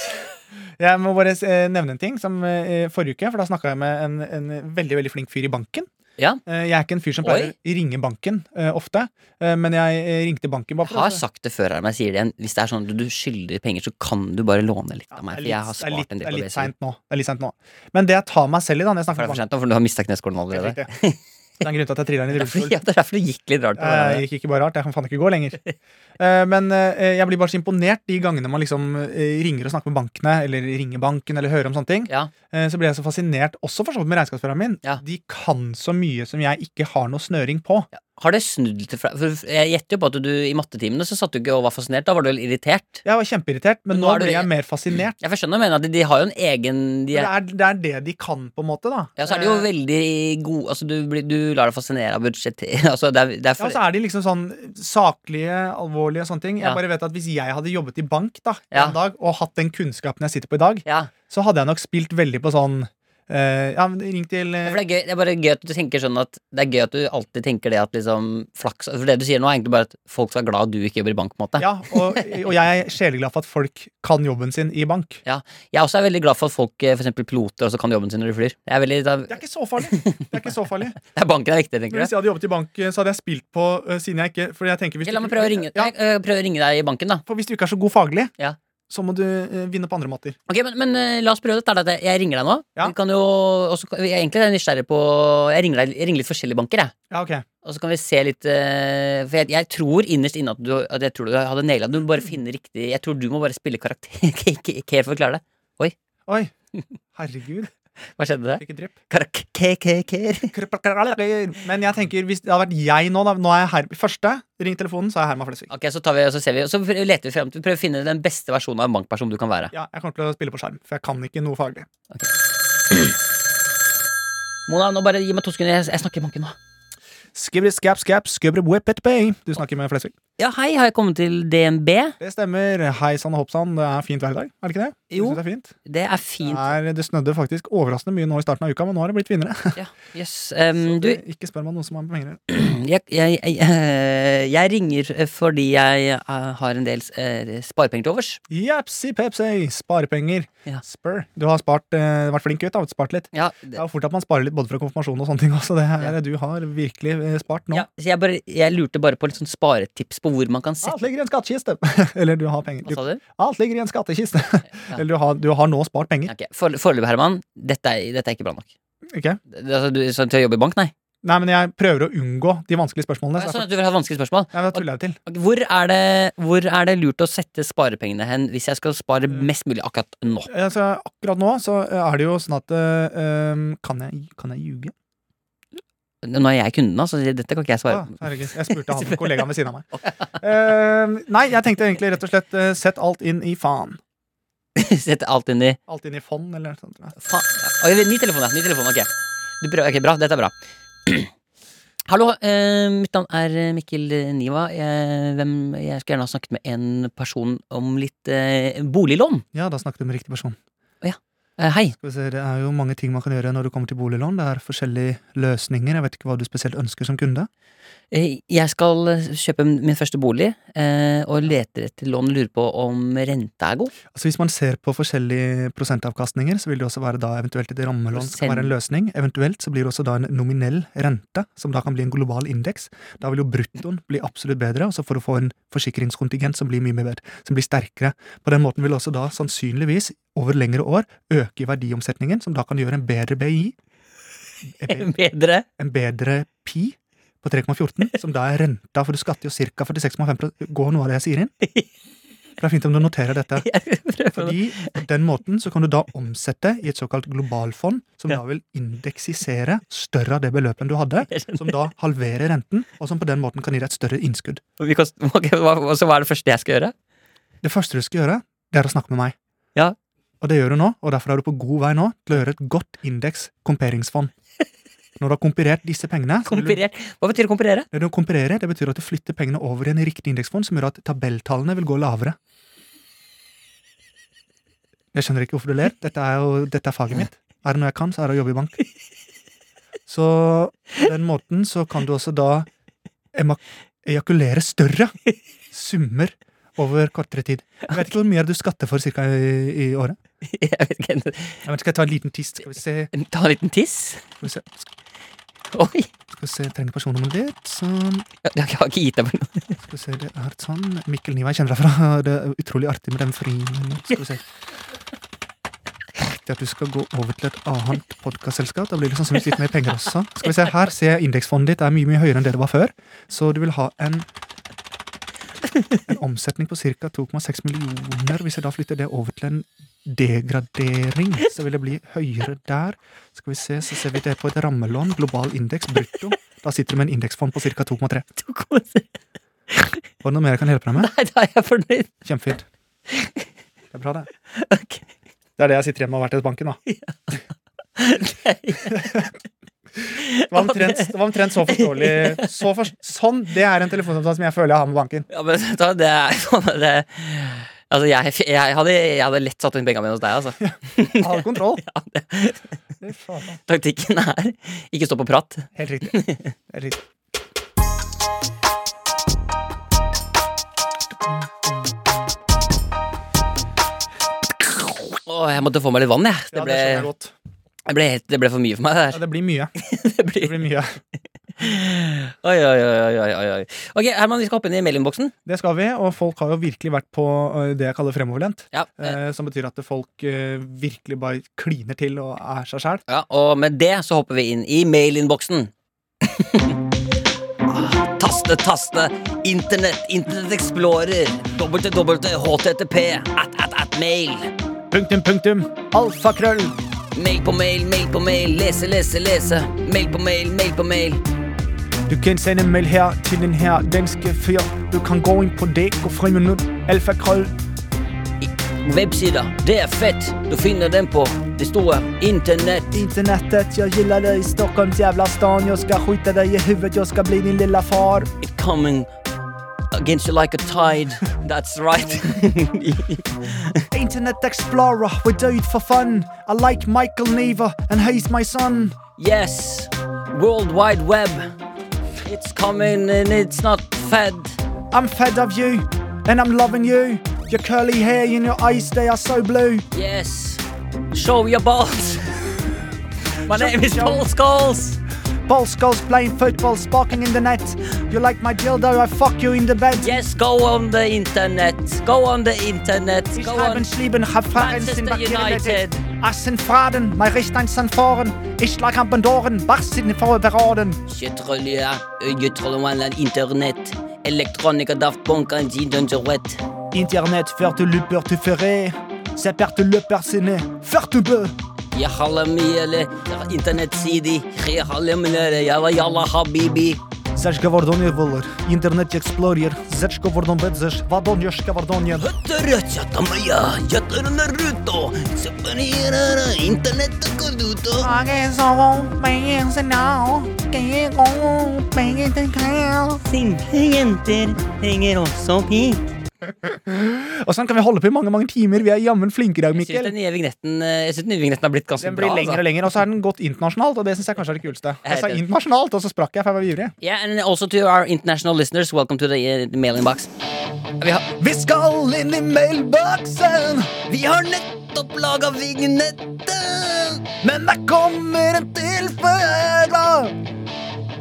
Speaker 2: Jeg må bare eh, nevne en ting som eh, forrige uke, for da snakka jeg med en, en veldig veldig flink fyr i banken.
Speaker 4: Ja.
Speaker 2: Eh, Jeg er ikke en fyr som
Speaker 4: Oi.
Speaker 2: pleier å ringe banken eh, ofte, eh, men jeg eh, ringte banken bare
Speaker 4: Jeg har sagt det før, her, men jeg sier det igjen. Hvis det er sånn at du skylder penger, så kan du bare låne litt
Speaker 2: Ja,
Speaker 4: av meg.
Speaker 2: det er
Speaker 4: For jeg
Speaker 2: litt- det
Speaker 4: har
Speaker 2: er litt-
Speaker 4: spart en
Speaker 2: det er
Speaker 4: del på
Speaker 2: litt
Speaker 4: BSU.
Speaker 2: sent nå. Det er litt sent nå. Men det jeg tar meg selv i, da når jeg
Speaker 4: For
Speaker 2: snakker
Speaker 4: det er
Speaker 2: med
Speaker 4: for sent nå, for du har mista kneskålen allerede.
Speaker 2: banken, Det er en grunn til at jeg trilla inn i rullestol.
Speaker 4: Ja, det er derfor det gikk litt rart.
Speaker 2: Eh, Det gikk ikke bare rart, jeg kan faen ikke gå lenger. Eh, Men eh, jeg blir bare så imponert de gangene man liksom eh, ringer og snakker med bankene, eller ringer banken, eller hører om sånne ting.
Speaker 4: Ja.
Speaker 2: Eh, Så blir jeg så fascinert, også for så vidt med regnskapsføreren min.
Speaker 4: Ja.
Speaker 2: De kan så mye som jeg ikke har noe snøring på.
Speaker 4: Har det snudd til fra For jeg gjetter jo på at du i mattetimene så satt du ikke og var fascinert. Da var du vel irritert.
Speaker 2: Jeg var kjempeirritert, men
Speaker 4: Men
Speaker 2: nå
Speaker 4: nå er du-
Speaker 2: blir jeg mer fascinert.
Speaker 4: Jeg forstår hva du mener, at de har jo en egen de
Speaker 2: Det
Speaker 4: er,
Speaker 2: er, det er det de kan, på en måte, da.
Speaker 4: Ja, så er de jo
Speaker 2: Eh,
Speaker 4: veldig gode Altså, du, blir- du lar deg fascinere av budsjett altså, det er, det er
Speaker 2: Ja,
Speaker 4: for,
Speaker 2: og så er de liksom sånn saklige, alvorlige og sånne ting. Jeg
Speaker 4: Ja.
Speaker 2: bare vet at Hvis jeg hadde jobbet i bank da,
Speaker 4: Ja.
Speaker 2: en dag og hatt den kunnskapen jeg sitter på i dag,
Speaker 4: ja.
Speaker 2: så hadde jeg nok spilt veldig på sånn eh, Ja, men ring til eh,
Speaker 4: Ja, for det, er gøy, det er bare gøy at du tenker sånn at Det er gøy at du alltid tenker det at liksom flaks For det du sier nå, er egentlig bare at folk skal være glad du ikke jobber i bank. på en måte
Speaker 2: eh, Ja, og, og jeg er sjeleglad for at folk kan jobben sin i bank.
Speaker 4: Jeg også er veldig glad for at folk, eh, for eksempel piloter, også kan jobben sin når de flyr. Jeg er veldig, det,
Speaker 2: Det er ikke så farlig. Det er ikke så farlig.
Speaker 4: er, banken er viktig,
Speaker 2: Men
Speaker 4: tenker
Speaker 2: hvis
Speaker 4: jeg.
Speaker 2: jeg hadde jobbet i bank, eh, så hadde jeg spilt på eh, siden jeg ikke For jeg tenker hvis
Speaker 4: Ok,
Speaker 2: du,
Speaker 4: La meg prøve å ringe,
Speaker 2: ja,
Speaker 4: Nei, eh, prøve å ringe deg i banken, da.
Speaker 2: For hvis du ikke er så god faglig,
Speaker 4: Ja.
Speaker 2: så må du eh, vinne på andre måter.
Speaker 4: Ok, men, men eh, la oss prøve dette. er det at Jeg ringer deg nå.
Speaker 2: Ja.
Speaker 4: Vi kan jo, og så kan- jeg, egentlig er jeg nysgjerrig på Jeg ringer, deg, jeg ringer litt forskjellige banker, jeg.
Speaker 2: Ja, ok.
Speaker 4: Og så kan vi se litt eh, For jeg, jeg tror innerst inne at du, at jeg tror du hadde naila det. Du må bare finne riktig Jeg tror du må bare spille karakter Care for å klare det.
Speaker 2: Oi. Herregud.
Speaker 4: Hva skjedde der?
Speaker 2: Ikke drypp.
Speaker 4: Karakter
Speaker 2: Men jeg tenker, hvis det hadde vært jeg nå, da Nå er jeg her. Første, ring telefonen, så er jeg Herman Flesvig.
Speaker 4: Ok, så tar vi, og så ser vi Og så leter vi frem til Prøver å finne den beste versjonen av en bankperson du kan være.
Speaker 2: Ja, jeg kommer til å spille på skjerm, for jeg kan ikke noe faglig.
Speaker 4: Mona, nå bare gi meg to sekunder. Jeg, jeg snakker i banken nå.
Speaker 2: Skibri, skap, skap, skubri, whip it, bay. Du snakker med Flesvig.
Speaker 4: Ja, hei, har jeg kommet til DNB?
Speaker 2: Det stemmer. Hei sann og hopp sann, det er fint vær i dag, er det ikke det? Jeg
Speaker 4: Jo.
Speaker 2: synes Det er fint.
Speaker 4: Det er fint.
Speaker 2: Det, er, det snødde faktisk overraskende mye nå i starten av uka, men nå har det blitt vinnere.
Speaker 4: Ja, yes. Em, du,
Speaker 2: Det- Ikke spør meg noe som har med penger å gjøre.
Speaker 4: jeg, jeg, jeg, eh, jeg ringer eh, fordi jeg eh, har en del eh, sparepenger til overs.
Speaker 2: Japsi pepsi, sparepenger.
Speaker 4: Ja.
Speaker 2: Spør. Du har spart, eh, vært flink gutt, da. Spart litt.
Speaker 4: Ja,
Speaker 2: Det er jo fort at man sparer litt både fra konfirmasjon og sånne ting også. Det her,
Speaker 4: Ja.
Speaker 2: Du har virkelig eh, spart nå.
Speaker 4: ja, så jeg, bare, jeg lurte bare på litt sånn sparetips på hvor man kan
Speaker 2: Alt
Speaker 4: sette
Speaker 2: ligger i en skattkiste! Eller du har penger. Du,
Speaker 4: Hva sa du?
Speaker 2: alt ligger i en skattkiste.
Speaker 4: Ja.
Speaker 2: Eller du har, du har nå spart penger.
Speaker 4: Ok, for- Foreløpig, Herman, dette er, dette er ikke bra nok.
Speaker 2: Ok?
Speaker 4: Det- det- Altså, du, så til å jobbe i bank, nei?
Speaker 2: Nei, men jeg prøver å unngå de vanskelige spørsmålene. Så
Speaker 4: Sånn
Speaker 2: derfor,
Speaker 4: at du vil ha et vanskelig spørsmål.
Speaker 2: Nei, men da tuller jeg det til.
Speaker 4: Ok, Hvor er, det, hvor er det lurt å sette sparepengene hen hvis jeg skal spare
Speaker 2: Mm.
Speaker 4: mest mulig akkurat nå?
Speaker 2: Altså, akkurat nå så eh, er det jo sånn at eh, eh, kan, jeg, kan jeg ljuge?
Speaker 4: Nå er jeg kunden, altså. Dette kan ikke jeg svare
Speaker 2: Ah, herregud, jeg spurte han kollegaen ved siden av meg. Eh, nei, jeg tenkte egentlig rett og slett eh, sett alt inn i faen.
Speaker 4: Sette alt inn i
Speaker 2: Alt inn i fond, eller noe sånt. nei.
Speaker 4: Faen. Oi, ny telefon, ja. Ny telefon, ok. Du prøver, ok, bra. Dette er bra. Hallo, eh, mitt navn er Mikkel Niva. Jeg, hvem, jeg skulle gjerne ha snakket med en person om litt eh, boliglån.
Speaker 2: Ja, da snakket du med riktig person.
Speaker 4: Eh, hei.
Speaker 2: Skal vi se, Det er jo mange ting man kan gjøre når du kommer til boliglån. Det er forskjellige løsninger. Jeg vet ikke hva du spesielt ønsker som kunde.
Speaker 4: Eh, Jeg skal eh, kjøpe min første bolig eh, og leter etter lån og lurer på om renta er god.
Speaker 2: Altså Hvis man ser på forskjellige prosentavkastninger, så vil det også være da eventuelt et rammelån som
Speaker 4: Prosent.
Speaker 2: kan være en løsning. Eventuelt så blir det også da en nominell rente, som da kan bli en global indeks. Da vil jo bruttoen bli absolutt bedre, og så får du få en forsikringskontingent som blir mye mer bedre, som blir sterkere. På den måten vil også da sannsynligvis over lengre år øke i verdiomsetningen, som da kan gjøre en bedre E BI, en be-
Speaker 4: Bedre.
Speaker 2: en bedre pi på 3,14, som da er renta, for du skatter jo ca. 46,5 Går noe av det jeg sier inn? For det er fint om du noterer dette.
Speaker 4: Jeg prøver å-
Speaker 2: Fordi på den måten så kan du da omsette i et såkalt globalfond, som da vil indeksisere større av det beløpet enn du hadde,
Speaker 4: Jeg skjønner.
Speaker 2: som da halverer renten, og som på den måten kan gi deg et større innskudd.
Speaker 4: Vi kan- ok, hva- Så hva er det første jeg skal gjøre?
Speaker 2: Det første du skal gjøre, det er å snakke med meg.
Speaker 4: Ja.
Speaker 2: Og det gjør du nå, og derfor er du på god vei nå til å gjøre et godt indeks komperingsfond. Når du har komperert disse pengene, så vil du
Speaker 4: Komperert. Hva betyr å komperere?
Speaker 2: Det du kompererer, det betyr at du flytter pengene over i en riktig indeksfond som gjør at tabelltallene vil gå lavere. Jeg skjønner ikke hvorfor du ler. Dette er jo dette er faget mitt. Er det noe jeg kan, så er det å jobbe i bank. Så på den måten så kan du også da emak- ejakulere større summer over kortere tid. Jeg vet ikke hvor mye er det du skatter for cirka i, i året.
Speaker 4: Jeg vet ikke.
Speaker 2: Jeg vet, skal jeg ta en liten tist? Skal vi se.
Speaker 4: Ta en liten tiss.
Speaker 2: Skal vi se.
Speaker 4: Oi!
Speaker 2: Skal vi se. Jeg trenger personnummeret ditt. Sånn.
Speaker 4: Jeg har ikke- jeg har ikke gitt deg noe.
Speaker 2: Skal vi se, det er sånn Mikkel Niva, jeg kjenner deg fra. Det er utrolig artig med den fri Skal vi se. viktig at du skal gå over til et annet podkastselskap. Da blir det sannsynligvis litt mer penger også. Skal vi se, Her ser jeg indeksfondet ditt er mye mye høyere enn det det var før. Så du vil ha en en omsetning på ca. 2,6 millioner. Hvis jeg da flytter det over til en degradering, så vil det bli høyere der. Skal vi se, så ser vi det på et rammelån, global indeks, brutto. Da sitter du med en indeksfond på ca. 2,3. Var
Speaker 4: Du koser deg.
Speaker 2: det noe mer jeg kan hjelpe deg med?
Speaker 4: Nei, da er jeg fornøyd.
Speaker 2: Kjempefint. Det er bra, det.
Speaker 4: Ok.
Speaker 2: Det er det jeg sitter hjemme og har vært i banken, da.
Speaker 4: Nei.
Speaker 2: Det var omtrent, det var omtrent så forståelig. Så for, sånn! Det er en telefonsamtale som jeg føler jeg har med banken.
Speaker 4: Ja, men vet du hva, det er sånn at det, Altså, jeg, jeg, hadde, jeg hadde lett satt inn penga mine hos deg, altså.
Speaker 2: Jeg har kontroll.
Speaker 4: Ja, det,
Speaker 2: Fy faen, da.
Speaker 4: taktikken er ikke stå på prat.
Speaker 2: Helt riktig. Helt riktig.
Speaker 4: Å, jeg måtte få meg litt vann, jeg.
Speaker 2: Ja,
Speaker 4: Det
Speaker 2: det
Speaker 4: ble,
Speaker 2: skjønner jeg godt.
Speaker 4: det ble, helt, det ble for mye for meg,
Speaker 2: Ja,
Speaker 4: det
Speaker 2: det blir mye.
Speaker 4: der. Det
Speaker 2: Det
Speaker 4: blir,
Speaker 2: blir mye.
Speaker 4: oi, oi, oi, oi, oi, oi, oi. Ok, Herman, vi skal hoppe inn i mailinnboksen.
Speaker 2: Det skal vi, og folk har jo virkelig vært på eh, det jeg kaller fremoverlent.
Speaker 4: Ja, eh,
Speaker 2: Eh, som betyr at folk eh, virkelig bare kliner til og er seg sjæl.
Speaker 4: ja, og med det så hopper vi inn i mailinnboksen. Ah, Taste, taste, internett, internett explorer, www.http, at, at, at, mail.
Speaker 2: Punktum, punktum. Alfakrøll.
Speaker 4: Mail på mail, mail på mail, lese, lese, lese. Mail på mail, mail på mail.
Speaker 2: Du kan sende mail her til den her danske fyr. Du kan gå inn på det og friminutt. Alfakrøll.
Speaker 4: Websider, det er fett. Du finner den på det store internett.
Speaker 2: Internettet, jeg gillar dig. Stockholms jävla stan. Jeg skal skjuta dig i huvudet. Jeg skal bli din lilla far.
Speaker 4: It coming against you like a tide. That's right.
Speaker 2: Internet Explorer, we do it for fun. I like Michael Neva and he's my son.
Speaker 4: yes, World Wide Web. It's coming and it's not fed.
Speaker 2: I'm fed of you and I'm loving you. Your curly hair and your eyes, they are so blue.
Speaker 4: Yes, show your balls. My name is
Speaker 2: Show-
Speaker 4: Paul Scholes.
Speaker 2: Ball skulls playing football, sparking in the net. You like my dildo, I fuck you in the bed.
Speaker 4: Yes, go on the internet. Go on the internet.
Speaker 2: Ich
Speaker 4: Go
Speaker 2: habe
Speaker 4: on.
Speaker 2: ein Schlieben, hab Fahren, sind
Speaker 4: Manchester United.
Speaker 2: Assen Faden, mein Recht ein Sanforen. Ich lag am Bandoren, wachs in den Vorher beraten.
Speaker 4: Kjøttrolje, øyetrollemaler, internett, elektronika, daft punk, anti dungerette.
Speaker 2: Internet, fährt du Lüpper, du Ferré. Sepert du Lüpper, Sinne, fährt du Bö.
Speaker 4: Jeg holder mye, eller internettside. Jeg holder mye, jeg var jalla habibi.
Speaker 2: Zaś Gawardonier Woller, Internet Explorer, Zecz Gawardon Bedzesz, Wadoniesz Gawardonier.
Speaker 4: Høtterøtjatamaya, jøtterønderuto, separere internettet går ut og Simple jenter trenger også pik.
Speaker 2: Og sånn kan vi holde på i mange mange timer. Vi er jammen flinke i dag,
Speaker 4: Jeg syns
Speaker 2: Mikkel.
Speaker 4: den nye vignetten, eh, jeg synes den nye vignetten har blitt ganske
Speaker 2: Den blir
Speaker 4: bra. altså.
Speaker 2: lengre og lengre, og så er den gått internasjonalt. Og det synes jeg kanskje er det kuleste. Jeg sa
Speaker 4: Helt enig.
Speaker 2: internasjonalt, og så sprakk jeg, for jeg var ivrig.
Speaker 4: Yeah, and also to our international listeners, welcome to the eh, mailing box. Vi har
Speaker 2: Vi skal inn i mailboksen,
Speaker 4: Vi har nettopp laga vignettet!
Speaker 2: men der kommer en til før.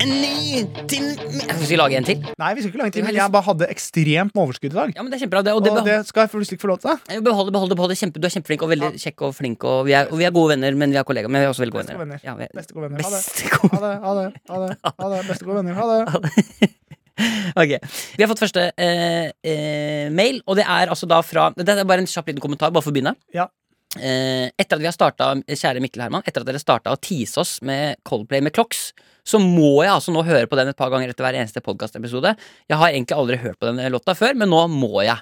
Speaker 4: En ny til Skal vi lage en til?
Speaker 2: Nei, vi skal ikke langt inn. Jeg bare hadde ekstremt med overskudd i dag.
Speaker 4: Ja, men Det er kjempebra. Det, og det
Speaker 2: Og
Speaker 4: behold,
Speaker 2: det skal jeg plutselig ikke få lov til.
Speaker 4: Nei, behold, det, behold, det, behold, det. Kjempe, du er kjempeflink og veldig kjekk og flink. Og vi, er, og vi er gode venner, men vi er kollegaer. Men vi er også veldig gode
Speaker 2: Beste
Speaker 4: venner.
Speaker 2: venner.
Speaker 4: Ja, vi er-
Speaker 2: Beste gode venner. Ha det.
Speaker 4: Beste
Speaker 2: Ha
Speaker 4: gode
Speaker 2: det, ha det, ha det. ha det, Beste gode venner. Ha det.
Speaker 4: Ok, Vi har fått første eh, eh, mail, og det er altså da fra Det er bare en kjapp liten kommentar, bare for å begynne.
Speaker 2: Ja.
Speaker 4: Eh, etter at vi har startet, kjære Mikkel Herman, etter at dere starta å tease oss med Coldplay med Clocks, så må jeg altså nå høre på den et par ganger etter hver eneste podkastepisode. Jeg har egentlig aldri hørt på den låta før, men nå må jeg.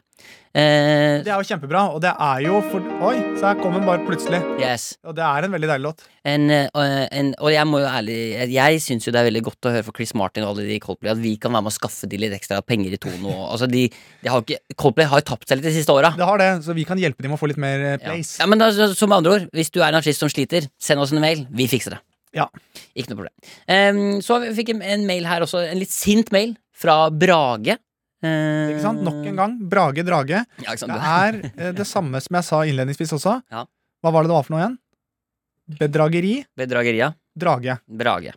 Speaker 4: Eh,
Speaker 2: Det er jo kjempebra, og det er jo for... Oi, så her kom den bare plutselig.
Speaker 4: yes.
Speaker 2: Og det er en veldig deilig låt.
Speaker 4: En, eh, en, og jeg må jo ærlig Jeg syns jo det er veldig godt å høre for Chris Martin og alle de i Coldplay at vi kan være med å skaffe de litt ekstra penger i Tono. Altså de, de har jo ikke, Coldplay har jo tapt seg litt de siste åra.
Speaker 2: Det har det, så vi kan hjelpe dem å få litt mer eh,
Speaker 4: Ja.
Speaker 2: plays.
Speaker 4: ja, men altså, som med andre ord, hvis du er en artist som sliter, send oss en mail. Vi fikser det.
Speaker 2: Ja.
Speaker 4: Ikke noe problem. Em, så vi fikk en, en mail her også, en litt sint mail fra Brage. Eh,
Speaker 2: Ikke sant? Nok en gang. Brage Drage.
Speaker 4: Ja, ikke sant?
Speaker 2: Det
Speaker 4: du-
Speaker 2: er eh, det samme som jeg sa innledningsvis også.
Speaker 4: Sånn Ja.
Speaker 2: Hva var det det var for noe igjen? Bedrageri.
Speaker 4: Bedrageria.
Speaker 2: Drage.
Speaker 4: Brage.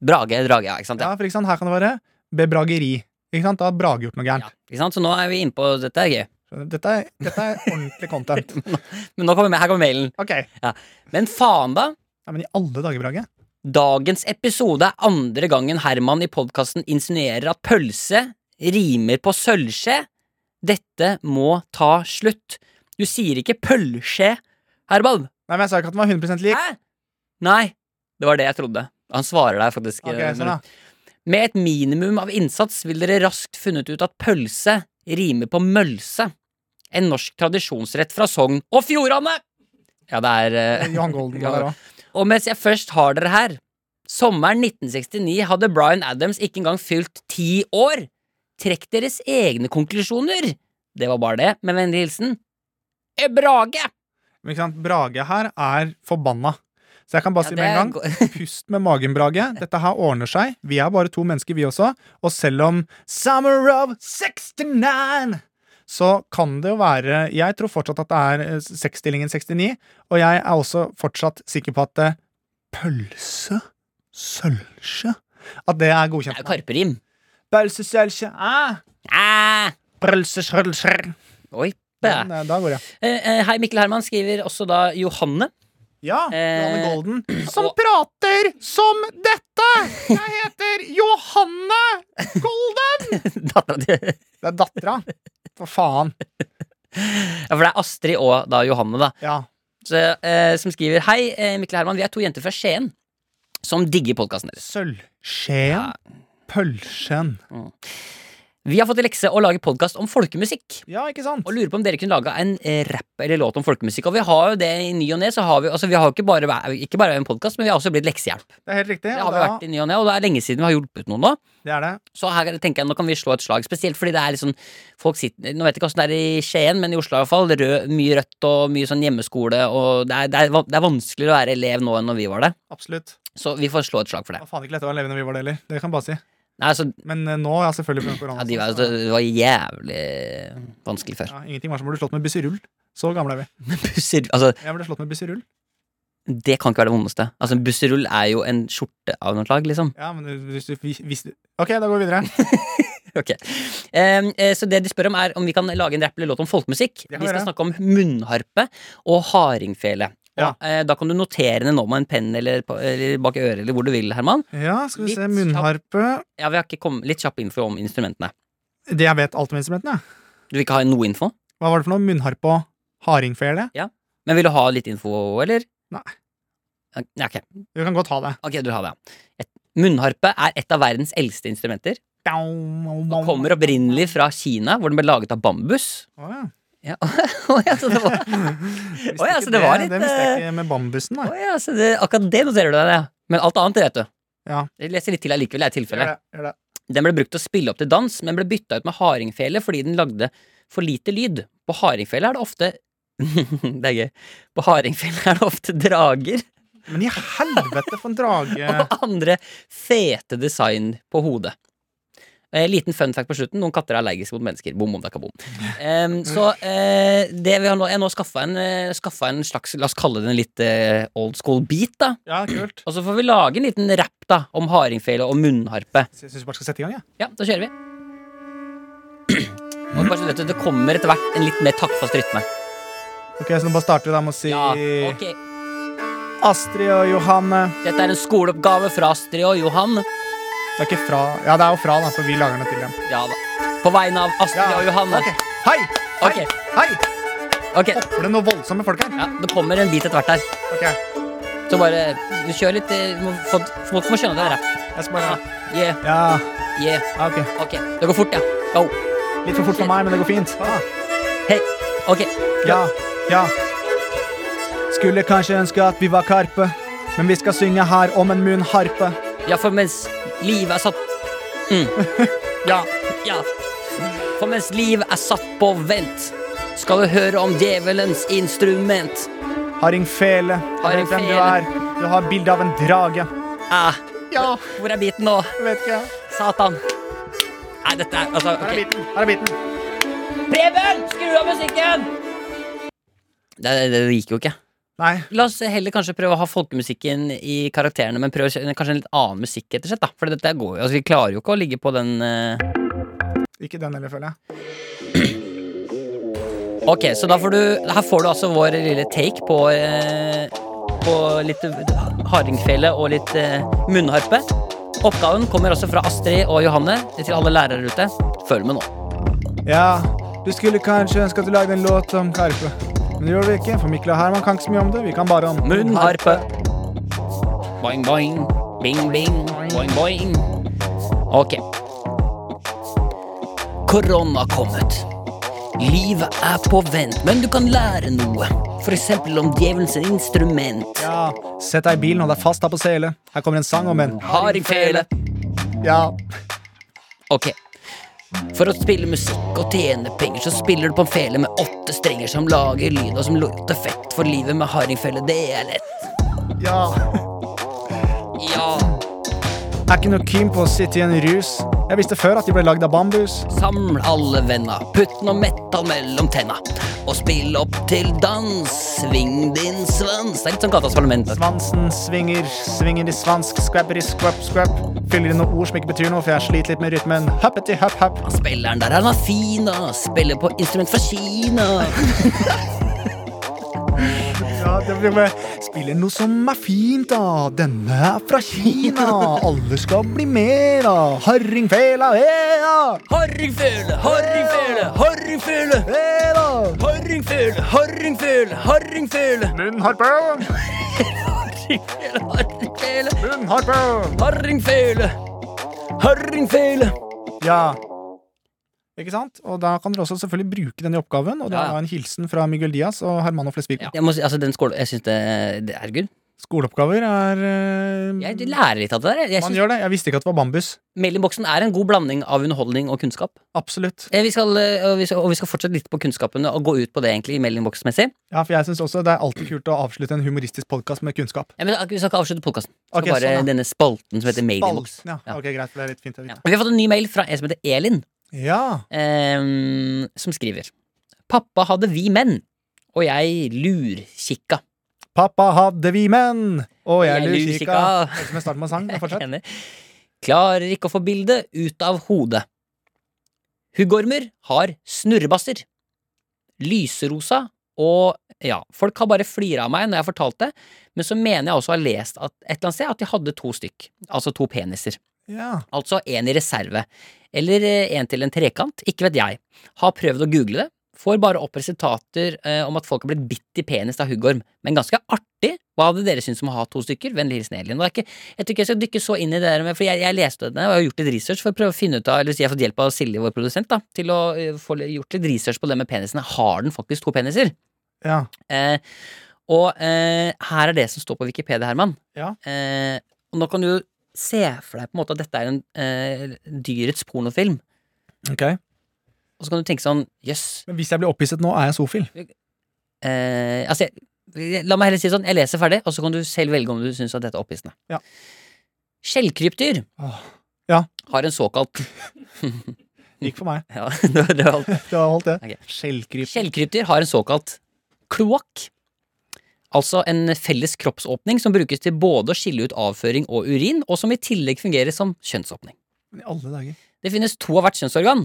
Speaker 4: Brage, Drage, ja, ikke sant?
Speaker 2: Ja, for ikke sant, her kan det være bebrageri. Ikke sant? Da har Brage gjort noe
Speaker 4: Ja,
Speaker 2: gærent.
Speaker 4: ikke sant? Så nå er vi inne på Dette er gøy.
Speaker 2: Skjønner du? Dette, er- dette er ordentlig content.
Speaker 4: Men nå kommer, her kommer mailen.
Speaker 2: Ok, ja,
Speaker 4: Men faen, da.
Speaker 2: Men i alle dager, Brage.
Speaker 4: Dagens episode er andre gangen Herman i podkasten insinuerer at pølse rimer på sølvskje. Dette må ta slutt. Du sier ikke pølskje, Herman.
Speaker 2: Nei, men Jeg sa ikke at den var 100 lik.
Speaker 4: Hæ? Nei, det var det jeg trodde. Han svarer deg faktisk.
Speaker 2: Ok,
Speaker 4: eh,
Speaker 2: sånn da.
Speaker 4: Med et minimum av innsats vil dere raskt funnet ut at pølse rimer på mølse. En norsk tradisjonsrett fra Sogn og Fjordane! Ja, det er eh,
Speaker 2: Johan Golden var der òg.
Speaker 4: Og mens jeg først har dere her Sommeren 1969 hadde Bryan Adams ikke engang fylt ti år. Trekk deres egne konklusjoner. Det var bare det, med vennlig hilsen E. Brage.
Speaker 2: Men ikke sant, Brage her er forbanna. Så jeg kan bare si med en gang Pust med magen, Brage. Dette her ordner seg. Vi er bare to mennesker, vi også. Og selv om Summer of 69 så kan det jo være Jeg tror fortsatt at det er eh, seksstillingen 69, og jeg er også fortsatt sikker på at eh, pølse Sølvskje? At det er
Speaker 4: Det er
Speaker 2: godkjent.
Speaker 4: jo karperim.
Speaker 2: Pølse, sølvskje ah,
Speaker 4: Ah,
Speaker 2: Pølse, sølvskje
Speaker 4: oi.
Speaker 2: Men,
Speaker 4: bæ.
Speaker 2: eh, Da går jeg.
Speaker 4: Eh, eh, Hei, Mikkel Herman skriver også da Johanne.
Speaker 2: Ja, Johanne
Speaker 4: Eh,
Speaker 2: Golden. Som
Speaker 4: og-
Speaker 2: prater som dette! Jeg heter Johanne Golden!
Speaker 4: Dattera til
Speaker 2: Det er dattera. For faen.
Speaker 4: Ja, for det er Astrid og da Johanne, da.
Speaker 2: Ja.
Speaker 4: Så, eh, som skriver Hei, eh, Mikkel Herman, vi er to jenter fra Skien som digger podkasten deres.
Speaker 2: Sølvskjeen. Pølsen.
Speaker 4: Vi har fått i lekse å lage podkast om folkemusikk.
Speaker 2: Ja, ikke sant?
Speaker 4: Og lurer på om dere kunne laga en eh, rapp eller låt om folkemusikk. Og vi har jo det i ny og ne. Så har vi, altså, vi har jo ikke bare, væ- ikke bare en podkast, men vi har også blitt leksehjelp.
Speaker 2: Det er helt riktig.
Speaker 4: Det
Speaker 2: og
Speaker 4: har vi
Speaker 2: da-
Speaker 4: vært i ny og ne, og det er lenge siden vi har hjulpet noen nå.
Speaker 2: det er det.
Speaker 4: Så her tenker jeg, nå kan vi slå et slag, spesielt fordi det er liksom folk sitter, Nå vet jeg ikke åssen det er i Skien, men i Oslo i hvert fall. Rød, mye rødt og mye sånn hjemmeskole. Og det er, det, er, van- det er vanskeligere å være elev nå enn når vi var det.
Speaker 2: Absolutt.
Speaker 4: Så vi får slå et slag for
Speaker 2: Det
Speaker 4: det.
Speaker 2: var faen ikke lett å være levende vi var det heller. Det kan jeg bare si.
Speaker 4: Nei, altså,
Speaker 2: Men eh, nå er jeg selvfølgelig på grunn av korona.
Speaker 4: ja, de var, altså,
Speaker 2: så-
Speaker 4: det var jævlig vanskelig før.
Speaker 2: ja, ingenting var som å bli slått med busserull. Så gamle er vi.
Speaker 4: Busser, altså,
Speaker 2: Jeg ble slått med busserull.
Speaker 4: det kan ikke være det vondeste. Altså, en busserull er jo en skjorte av noe slag, liksom.
Speaker 2: Ja, men hvis du hvis, hvis, Ok, da går vi videre.
Speaker 4: Ok. Em, eh, så det de spør om, er om vi kan lage en rapp eller låt om folkemusikk.
Speaker 2: Det kan
Speaker 4: Vi
Speaker 2: vi
Speaker 4: skal
Speaker 2: gjøre.
Speaker 4: snakke om munnharpe og hardingfele. Og,
Speaker 2: Ja.
Speaker 4: eh, da kan du notere det nå med en penn eller, på- eller bak øret eller hvor du vil, Herman.
Speaker 2: Ja, skal vi
Speaker 4: Litt
Speaker 2: se. Munnharpe.
Speaker 4: Ja, vi har ikke kommet litt kjapp info om instrumentene.
Speaker 2: Det jeg vet alt om instrumentene. ja.
Speaker 4: Du vil ikke ha noe info?
Speaker 2: Hva var det for noe? Munnharpe og hardingfele?
Speaker 4: Men vil du ha litt info, eller?
Speaker 2: Nei.
Speaker 4: Ja, ok.
Speaker 2: Du kan godt ha det.
Speaker 4: Ok, du har det. ja. Et, munnharpe er et av verdens eldste instrumenter. Og kommer opprinnelig fra Kina, hvor den ble laget av bambus.
Speaker 2: Å, ja.
Speaker 4: Ja, Å ja, så det var,
Speaker 2: Visste
Speaker 4: Å, ja,
Speaker 2: ikke
Speaker 4: så det var litt,
Speaker 2: Det visste
Speaker 4: eh,
Speaker 2: jeg ikke med bambusen, da.
Speaker 4: Å ja, så det, akkurat det noterer du deg, ja. Men alt annet, det vet du.
Speaker 2: Ja.
Speaker 4: Jeg leser litt til allikevel, det er
Speaker 2: Gjør
Speaker 4: tilfellet.
Speaker 2: det, gjør det.
Speaker 4: Den ble brukt til å spille opp til dans, men ble bytta ut med hardingfele fordi den lagde for lite lyd. På hardingfele er det ofte Det er gøy. På hardingfele er det ofte drager
Speaker 2: Men i helvete for en drage!
Speaker 4: og andre fete design på hodet. Eh, liten fun fact på slutten. Noen katter er allergiske mot mennesker. Bom, bom, dakka, bom. Em, så eh, det vi har nå, jeg har nå skaffa en, eh, skaffa en slags, la oss kalle det en litt eh, old school beat, da.
Speaker 2: Ja, kult.
Speaker 4: Og så får vi lage en liten rapp da om hardingfele og munnharpe.
Speaker 2: Så Jeg syns vi bare skal sette i gang, jeg.
Speaker 4: Ja, da kjører vi. Og bare så du vet, det kommer etter hvert en litt mer taktfast rytme.
Speaker 2: Ok, så nå bare starter vi da med å si
Speaker 4: Ja, ok
Speaker 2: Astrid og Johanne.
Speaker 4: Dette er en skoleoppgave fra Astrid og Johan.
Speaker 2: Det er ikke fra Ja, det er jo fra, da, for vi lager den til dem.
Speaker 4: Ja da. På vegne av Astrid og Johanne.
Speaker 2: Ok. Hei! Hei!
Speaker 4: Ok.
Speaker 2: Hei!
Speaker 4: Ok,
Speaker 2: Hopper det noe voldsomt med folk her?
Speaker 4: ja, Det kommer en bit etter hvert her.
Speaker 2: Ok, jeg
Speaker 4: Så bare du kjør litt. eh, må- Folk folk må skjønne at det er rapp.
Speaker 2: skal bare
Speaker 4: Yeah,
Speaker 2: Ja,
Speaker 4: yeah.
Speaker 2: ja, ok.
Speaker 4: Ok, det går fort, ja. Go.
Speaker 2: Litt for fort for meg, men det går fint. Ah.
Speaker 4: Hei. Ok.
Speaker 2: Ja, ja. Skulle kanskje ønske at vi var Karpe, men vi skal synge her om en munnharpe.
Speaker 4: Ja, for mens livet er satt mm. Ja, ja. For mens livet er satt på vent, skal du høre om djevelens instrument.
Speaker 2: Hardingfele, jeg
Speaker 4: Harding
Speaker 2: vet hvem du
Speaker 4: Fele.
Speaker 2: er. Du har bilde av en drage.
Speaker 4: Ah,
Speaker 2: Ja,
Speaker 4: hvor er biten nå?
Speaker 2: jeg vet ikke.
Speaker 4: Satan. Nei, dette er altså
Speaker 2: Her er
Speaker 4: ok.
Speaker 2: biten. Her er biten.
Speaker 4: Preben, skru av musikken! Det, det, det gikk jo ikke.
Speaker 2: Nei,
Speaker 4: La oss heller kanskje prøve å ha folkemusikken i karakterene, men prøv å kjøre kanskje en litt annen musikk etter sett, da. For dette går jo Altså, vi klarer jo ikke å ligge på den eh,
Speaker 2: ikke den heller, føler jeg.
Speaker 4: Ok, så da får du Her får du altså vår lille take på eh, På litt hardingfele og litt eh, munnharpe. Oppgaven kommer også fra Astrid og Johanne til alle lærere ute. Følg med nå.
Speaker 2: Ja, du skulle kanskje ønske at du lagde en låt om Karpe. Men det gjør du ikke, for Mikkel og Herman kan ikke så mye om det. Vi kan bare om
Speaker 4: Munnharpe. Boing, boing. Bing, bing. Boing, boing. Ok. Korona kommet. Livet er på vent, men du kan lære noe. For eksempel om djevelens instrument.
Speaker 2: Ja, Sett deg i bilen, hold deg fast her på sele. Her kommer en sang om en
Speaker 4: Hardingfele.
Speaker 2: Ja,
Speaker 4: Ok. For å spille musikk og tjene penger, så spiller du på en fele med åtte strenger som lager lyd, og som låter fett for livet med hardingfele. Det er lett.
Speaker 2: ja.
Speaker 4: Ja.
Speaker 2: Er ikke noe keen på å sitte i en rus. Jeg visste før at de ble lagd av bambus.
Speaker 4: Saml alle venna, putt noe metal mellom tenna, og spill opp til dans. Sving din svans. Det er litt sånn Gatas Parlament.
Speaker 2: Svansen svinger, svinger i svansk, skrapper i skrap, skrap. Fyller inn noen ord som ikke betyr noe, for jeg sliter litt med rytmen. Huppety, hupp, hupp.
Speaker 4: Spilleren der, han er fin, da. Spiller på instrument fra Kina.
Speaker 2: Ja, det blir med. Spiller noe som er fint, da. Denne er fra Kina. Alle skal bli med, da. Hardingfela, ea,
Speaker 4: Hardingfele, hardingfele, hardingfele.
Speaker 2: ea.
Speaker 4: Hardingfele, hardingfele, hardingfele.
Speaker 2: Munnharpe,
Speaker 4: Hardingfele, hardingfele.
Speaker 2: munnharpe.
Speaker 4: Hardingfele! Hardingfele!
Speaker 2: Ja. Ikke sant? Og da kan dere også selvfølgelig bruke den i oppgaven. Og det er
Speaker 4: Ja.
Speaker 2: da en hilsen fra Miguel Diaz og Hermano Flesvig.
Speaker 4: Jeg må si, altså den skole... Jeg syns det, det er gud.
Speaker 2: Skoleoppgaver er eh,
Speaker 4: Jeg lærer litt av det der. Jeg
Speaker 2: Man
Speaker 4: synes
Speaker 2: gjør det. Jeg visste ikke at det var bambus.
Speaker 4: Mailinnboksen er en god blanding av underholdning og kunnskap.
Speaker 2: Absolutt.
Speaker 4: Eh, Vi skal, eh, og, vi skal, og vi skal fortsette litt på kunnskapene og gå ut på det egentlig mailinnboksmessig.
Speaker 2: Ja, for jeg synes også Det er alltid kult å avslutte en humoristisk podkast med kunnskap.
Speaker 4: Ja, men Vi skal ikke avslutte podkasten. Skal
Speaker 2: Ok,
Speaker 4: bare
Speaker 2: sånn, ja.
Speaker 4: denne spalten som heter Mailinnboks.
Speaker 2: Ja,
Speaker 4: Ja.
Speaker 2: ok, greit, det er litt fint å
Speaker 4: Ja.
Speaker 2: vite.
Speaker 4: Vi har fått en ny mail fra en som heter Elin,
Speaker 2: Ja.
Speaker 4: ehm, som skriver Pappa hadde vi menn, og jeg lurkikka.
Speaker 2: Pappa hadde vi menn, og jeg,
Speaker 4: Jeg
Speaker 2: lusikka.
Speaker 4: lusikka.
Speaker 2: Det er som en start på en sang, men fortsett.
Speaker 4: Enig. Klarer ikke å få bildet ut av hodet. Huggormer har snurrebasser. Lyserosa og Ja, folk har bare flira av meg når jeg fortalte, men så mener jeg også å ha lest at, et eller annet sted at de hadde to stykk. Altså to peniser.
Speaker 2: Ja.
Speaker 4: Altså en i reserve. Eller eh, en til en trekant. Ikke vet jeg. Har prøvd å google det. Får bare opp resultater eh, om at folk har blitt bitt i penis av huggorm. Men ganske artig. Hva hadde dere syntes om å ha to stykker? Vennlig hilsen Elin. Og det er ikke, jeg tror ikke jeg skal dykke så inn i det der, med- for jeg, jeg leste det og jeg har gjort litt research for å prøve å finne ut av Eller si, jeg har fått hjelp av Silje, vår produsent, da, til å eh, få gjort litt research på det med penisene. Har den faktisk to peniser?
Speaker 2: ja.
Speaker 4: Eh, og eh, her er det som står på Wikipedia, Herman.
Speaker 2: Ja.
Speaker 4: Eh, og nå kan du se for deg på en måte at dette er en eh, dyrets pornofilm.
Speaker 2: Ok.
Speaker 4: Og så kan du tenke sånn Jøss.
Speaker 2: Men hvis jeg blir opphisset nå, er jeg sofil.
Speaker 4: Eh, altså, jeg- jeg, la meg heller si det sånn. Jeg leser ferdig, og så kan du selv velge om du syns at dette er opphissende.
Speaker 2: Ja.
Speaker 4: Skjellkrypdyr
Speaker 2: Åh,
Speaker 4: har en såkalt
Speaker 2: gikk for meg.
Speaker 4: ja, det var- det var alt.
Speaker 2: Det har holdt, det.
Speaker 4: Ok.
Speaker 2: Skjellkryp.
Speaker 4: Skjellkrypdyr har en såkalt kloakk. Altså en felles kroppsåpning som brukes til både å skille ut avføring og urin, og som i tillegg fungerer som kjønnsåpning.
Speaker 2: I alle dager.
Speaker 4: Det finnes to av hvert kjønnsorgan.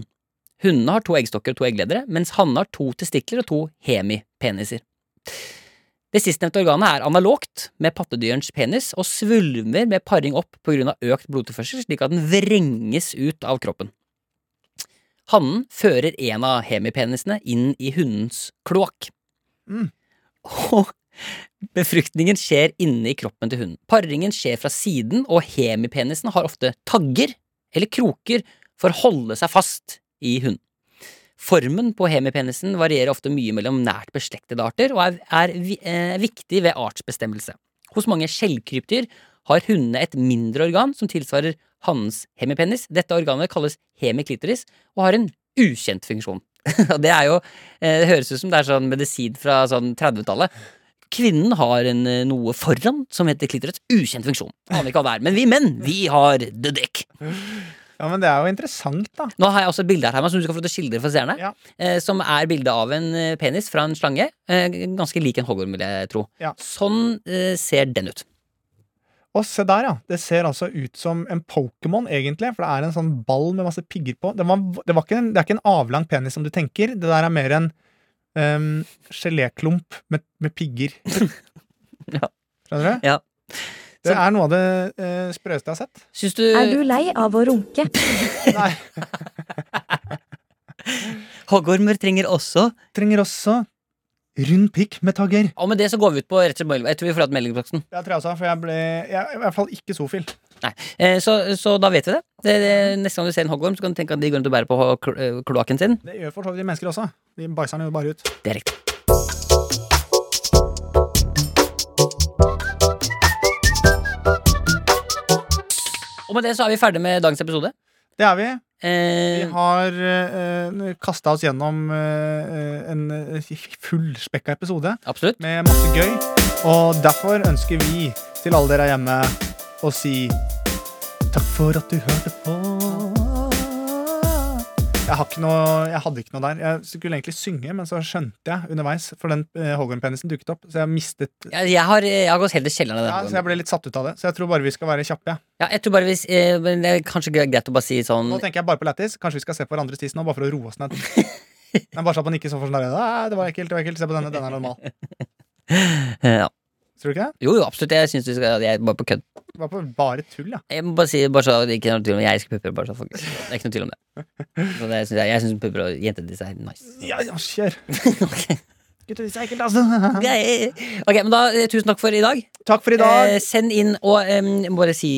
Speaker 4: Hundene har to eggstokker og to eggledere, mens hannene har to testikler og to hemipeniser. Det sistnevnte organet er analogt med pattedyrens penis og svulmer med paring opp pga. økt blodtilførsel, slik at den vrenges ut av kroppen. Hannen fører en av hemipenisene inn i hundens kloakk.
Speaker 2: Mm.
Speaker 4: Og befruktningen skjer inni kroppen til hunden. Paringen skjer fra siden, og hemipenisen har ofte tagger eller kroker for å holde seg fast i hunden. Formen på hemipenisen varierer ofte mye mellom nært beslektede arter og er, er vi- eh, viktig ved artsbestemmelse. Hos mange skjellkrypdyr har hundene et mindre organ som tilsvarer hannens hemipenis. Dette organet kalles hemiklitoris og har en ukjent funksjon. Og det er jo, eh, det høres ut som det er sånn medisin fra sånn 30-tallet. Kvinnen har en, eh, noe foran som heter klitoris. Ukjent funksjon. Aner ikke hva det er. Men vi menn, vi har the dick.
Speaker 2: Ja, men det er jo interessant, da.
Speaker 4: Nå har jeg også et bilde her Herman, som du skal få lov til å skildre for seerne.
Speaker 2: Ja.
Speaker 4: Eh, som er bilde av en eh, penis fra en slange. Eh, ganske lik en hoggorm, vil jeg tro.
Speaker 2: Ja.
Speaker 4: Sånn eh, ser den ut.
Speaker 2: Og se der, ja. Det ser altså ut som en Pokémon, egentlig. For det er en sånn ball med masse pigger på. Det, var, det, var ikke en, det er ikke en avlang penis som du tenker. Det der er mer en em, geléklump med, med pigger.
Speaker 4: Ja.
Speaker 2: Skjønner du?
Speaker 4: Ja.
Speaker 2: Det
Speaker 4: Så-
Speaker 2: er noe av det eh, sprøeste jeg har sett.
Speaker 4: Syns
Speaker 3: Er du
Speaker 4: du
Speaker 3: lei av å runke?
Speaker 2: Nei,
Speaker 4: hoggormer trenger også
Speaker 2: trenger også rund pikk med tagger.
Speaker 4: Og med det så går vi ut på rett og slett mail- Jeg tror vi får hatt meldingboksen.
Speaker 2: Det tror jeg også, for jeg ble jeg er i hvert fall ikke sofil.
Speaker 4: Eh, så, så da vet vi det. det, det neste gang du ser en hoggorm, så kan du tenke at de går rundt og bærer på ho- kl- eh, kloakken sin.
Speaker 2: Det gjør for så vidt de mennesker også. De bæsjer den jo bare ut.
Speaker 4: Det er riktig. Og med det så er vi ferdig med dagens episode.
Speaker 2: Det er vi. Vi
Speaker 4: Eh,
Speaker 2: har eh, kasta oss gjennom eh, en eh, fullspekka episode
Speaker 4: absolutt.
Speaker 2: med masse gøy. Og derfor ønsker vi til alle dere hjemme å si takk for at du hørte på. Jeg, har ikke noe, jeg hadde ikke noe der. Jeg skulle egentlig synge, men så skjønte jeg underveis, for den eh, Holgorn-penisen dukket opp, så jeg mistet
Speaker 4: Jeg, jeg, har, eh, jeg har gått helt i kjelleren av
Speaker 2: ja,
Speaker 4: den.
Speaker 2: Så jeg ble litt satt ut av det. Så jeg tror bare vi skal være kjappe. Ja.
Speaker 4: Ja, jeg tror bare hvis, eh, men det er kanskje gre- greit å bare si sånn
Speaker 2: Nå tenker jeg bare på lættis. Kanskje vi skal se på hverandres tiss nå, bare for å roe oss ned. Men bare så at man ikke så for sånn der, «Nei, Det var ekkelt, det var ekkelt. Se på denne, den er normal.
Speaker 4: eh, ja.
Speaker 2: Tror du ikke det?
Speaker 4: Jo, jo, absolutt. Jeg syns du skal Jeg er bare på kødd.
Speaker 2: Det var på bare tull, ja.
Speaker 4: Jeg må bare si bare så det ikke er noe tvil om Jeg elsker pupper. Bare så folk, det er ikke noe tvil om det. Så det synes jeg jeg syns pupper og jentetiss er nice.
Speaker 2: Ja, ja, kjør.
Speaker 4: ok,
Speaker 2: Gutter, det er ekkelt, altså.
Speaker 4: Ok, men da eh, tusen takk for i dag.
Speaker 2: Takk for i dag.
Speaker 4: Eh, send inn og em, jeg, må bare si,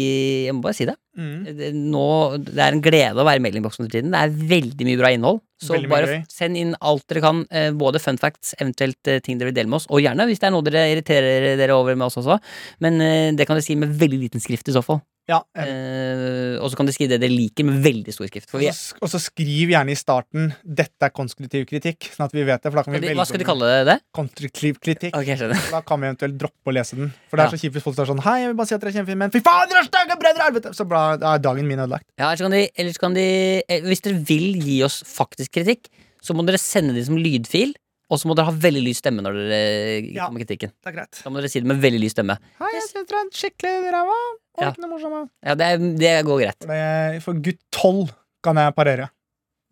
Speaker 4: jeg må bare si det.
Speaker 2: Mm.
Speaker 4: Det- Nå, det er en glede å være i meldingboksen for tiden. Det er veldig mye bra innhold. Så
Speaker 2: Veldig mye
Speaker 4: bare
Speaker 2: gøy.
Speaker 4: f- send inn alt dere kan. eh, Både fun facts, eventuelt eh, ting dere vil dele med oss. Og gjerne hvis det er noe dere irriterer dere over med oss også. Men eh, det kan dere si med veldig liten skrift i så fall.
Speaker 2: Ja, enig.
Speaker 4: Eh, og så kan dere skrive det dere liker med veldig stor skrift. For vi,
Speaker 2: Og så- Og så skriv gjerne i starten 'dette er konstruktiv kritikk', sånn at vi vet det. For da kan vi
Speaker 4: Skal de-
Speaker 2: velge
Speaker 4: hva skal de
Speaker 2: om
Speaker 4: kalle det?
Speaker 2: konstruktiv kritikk.
Speaker 4: Ok, jeg skjønner.
Speaker 2: Og Da kan vi eventuelt droppe å lese den. For det er
Speaker 4: Ja.
Speaker 2: så kjipt hvis folk står sånn 'Hei, jeg vil bare si at dere er kjempefine, men fy faen, dere er stygge brødre!' helvete!» Så bra, da er dagen min ødelagt.
Speaker 4: Ja, ellers kan de, ellers kan de eh, Hvis dere vil gi oss faktisk kritikk, så må dere sende det som lydfil. Og så må dere ha veldig lys stemme når dere eh,
Speaker 2: Ja.
Speaker 4: kommer med kritikken.
Speaker 2: Det er greit.
Speaker 4: Da må dere si det med veldig lys stemme.
Speaker 2: Hei, jeg synes dere er skikkelig ræva. Og
Speaker 4: Ja.
Speaker 2: ikke noe morsomme.
Speaker 4: Ja, det, er- det går greit.
Speaker 2: For, det, for gutt 12 kan jeg parere.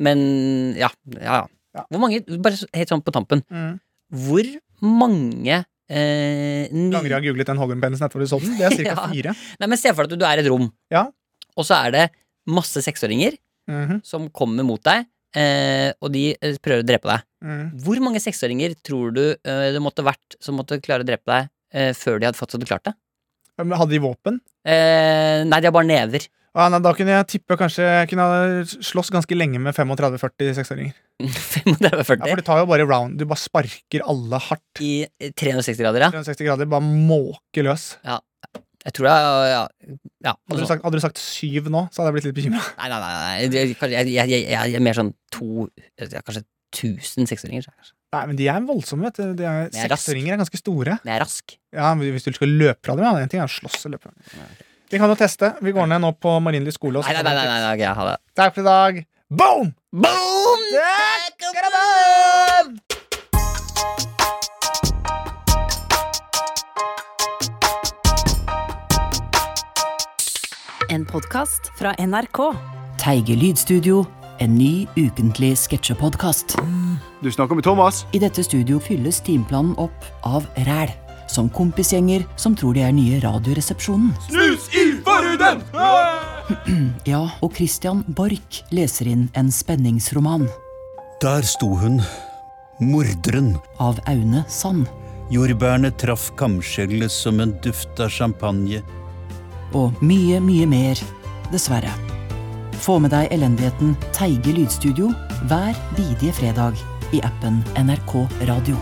Speaker 4: Men ja, ja,
Speaker 2: Ja.
Speaker 4: ja. Hvor mange, bare så- helt sånn på tampen,
Speaker 2: Mm.
Speaker 4: hvor mange eh, ny-
Speaker 2: Ganger jeg har googlet den Holgorn-pennisen etter hvor du så den. Det er cirka
Speaker 4: Ja.
Speaker 2: fire.
Speaker 4: Nei, men Se for deg at du er i et rom,
Speaker 2: Ja.
Speaker 4: og så er det masse seksåringer
Speaker 2: Mhm,
Speaker 4: som kommer mot deg, eh, og de eh, prøver å drepe deg.
Speaker 2: mhm.
Speaker 4: Hvor mange seksåringer tror du eh, det måtte vært som måtte klare å drepe deg eh, før de hadde fått så du klarte det?
Speaker 2: Men Hadde de våpen?
Speaker 4: Eh, nei, de har bare never.
Speaker 2: Ja, Ah, nei, da kunne jeg tippe kanskje Jeg kunne ha slåss ganske lenge med 35-40 seksåringer.
Speaker 4: 35-40
Speaker 2: Ja, for du tar jo bare round. Du bare sparker alle hardt.
Speaker 4: i eh, 360 grader, ja.
Speaker 2: 360 grader, bare måke løs.
Speaker 4: Jeg tror jeg Ja. ja noe
Speaker 2: Hadde du,
Speaker 4: sånt.
Speaker 2: sagt, hadde du sagt syv nå, så hadde jeg blitt litt bekymra.
Speaker 4: Nei, nei, nei. nei. Jeg, kanskje- jeg, jeg, jeg, jeg er mer sånn to ja, Kanskje 1000 seksåringer. så jeg kanskje.
Speaker 2: Nei, men de er voldsomme, vet du. De er,
Speaker 4: De er rask.
Speaker 2: seksåringer er ganske store.
Speaker 4: Men jeg er rask.
Speaker 2: Ja, men Hvis du skal løpe fra dem, ja. En ting er å slåss og løpe. Vi kan jo teste. Vi går ned nå på Marienlyst skole. og så
Speaker 4: Nei, nei,
Speaker 2: kan
Speaker 4: nei.
Speaker 2: vi-
Speaker 4: nei, nei, nei ok, jeg har det.
Speaker 2: Takk for i dag. Boom!
Speaker 4: Boom!
Speaker 1: En podkast fra NRK.
Speaker 5: Teige Lydstudio, en ny ukentlig sketsjepodkast.
Speaker 6: Du snakker med Thomas?
Speaker 5: I dette studio fylles timeplanen opp av ræl, som kompisgjenger som tror de er nye Radioresepsjonen.
Speaker 6: Snus i forhuden!
Speaker 5: Ja, og Christian Borch leser inn en spenningsroman
Speaker 7: Der sto hun, morderen.
Speaker 5: av Aune Sand.
Speaker 7: Jordbærene traff kamskjellet som en duft av champagne.
Speaker 5: Og mye, mye mer, dessverre. Få med deg elendigheten Teige Lydstudio hver bidige fredag i appen NRK Radio.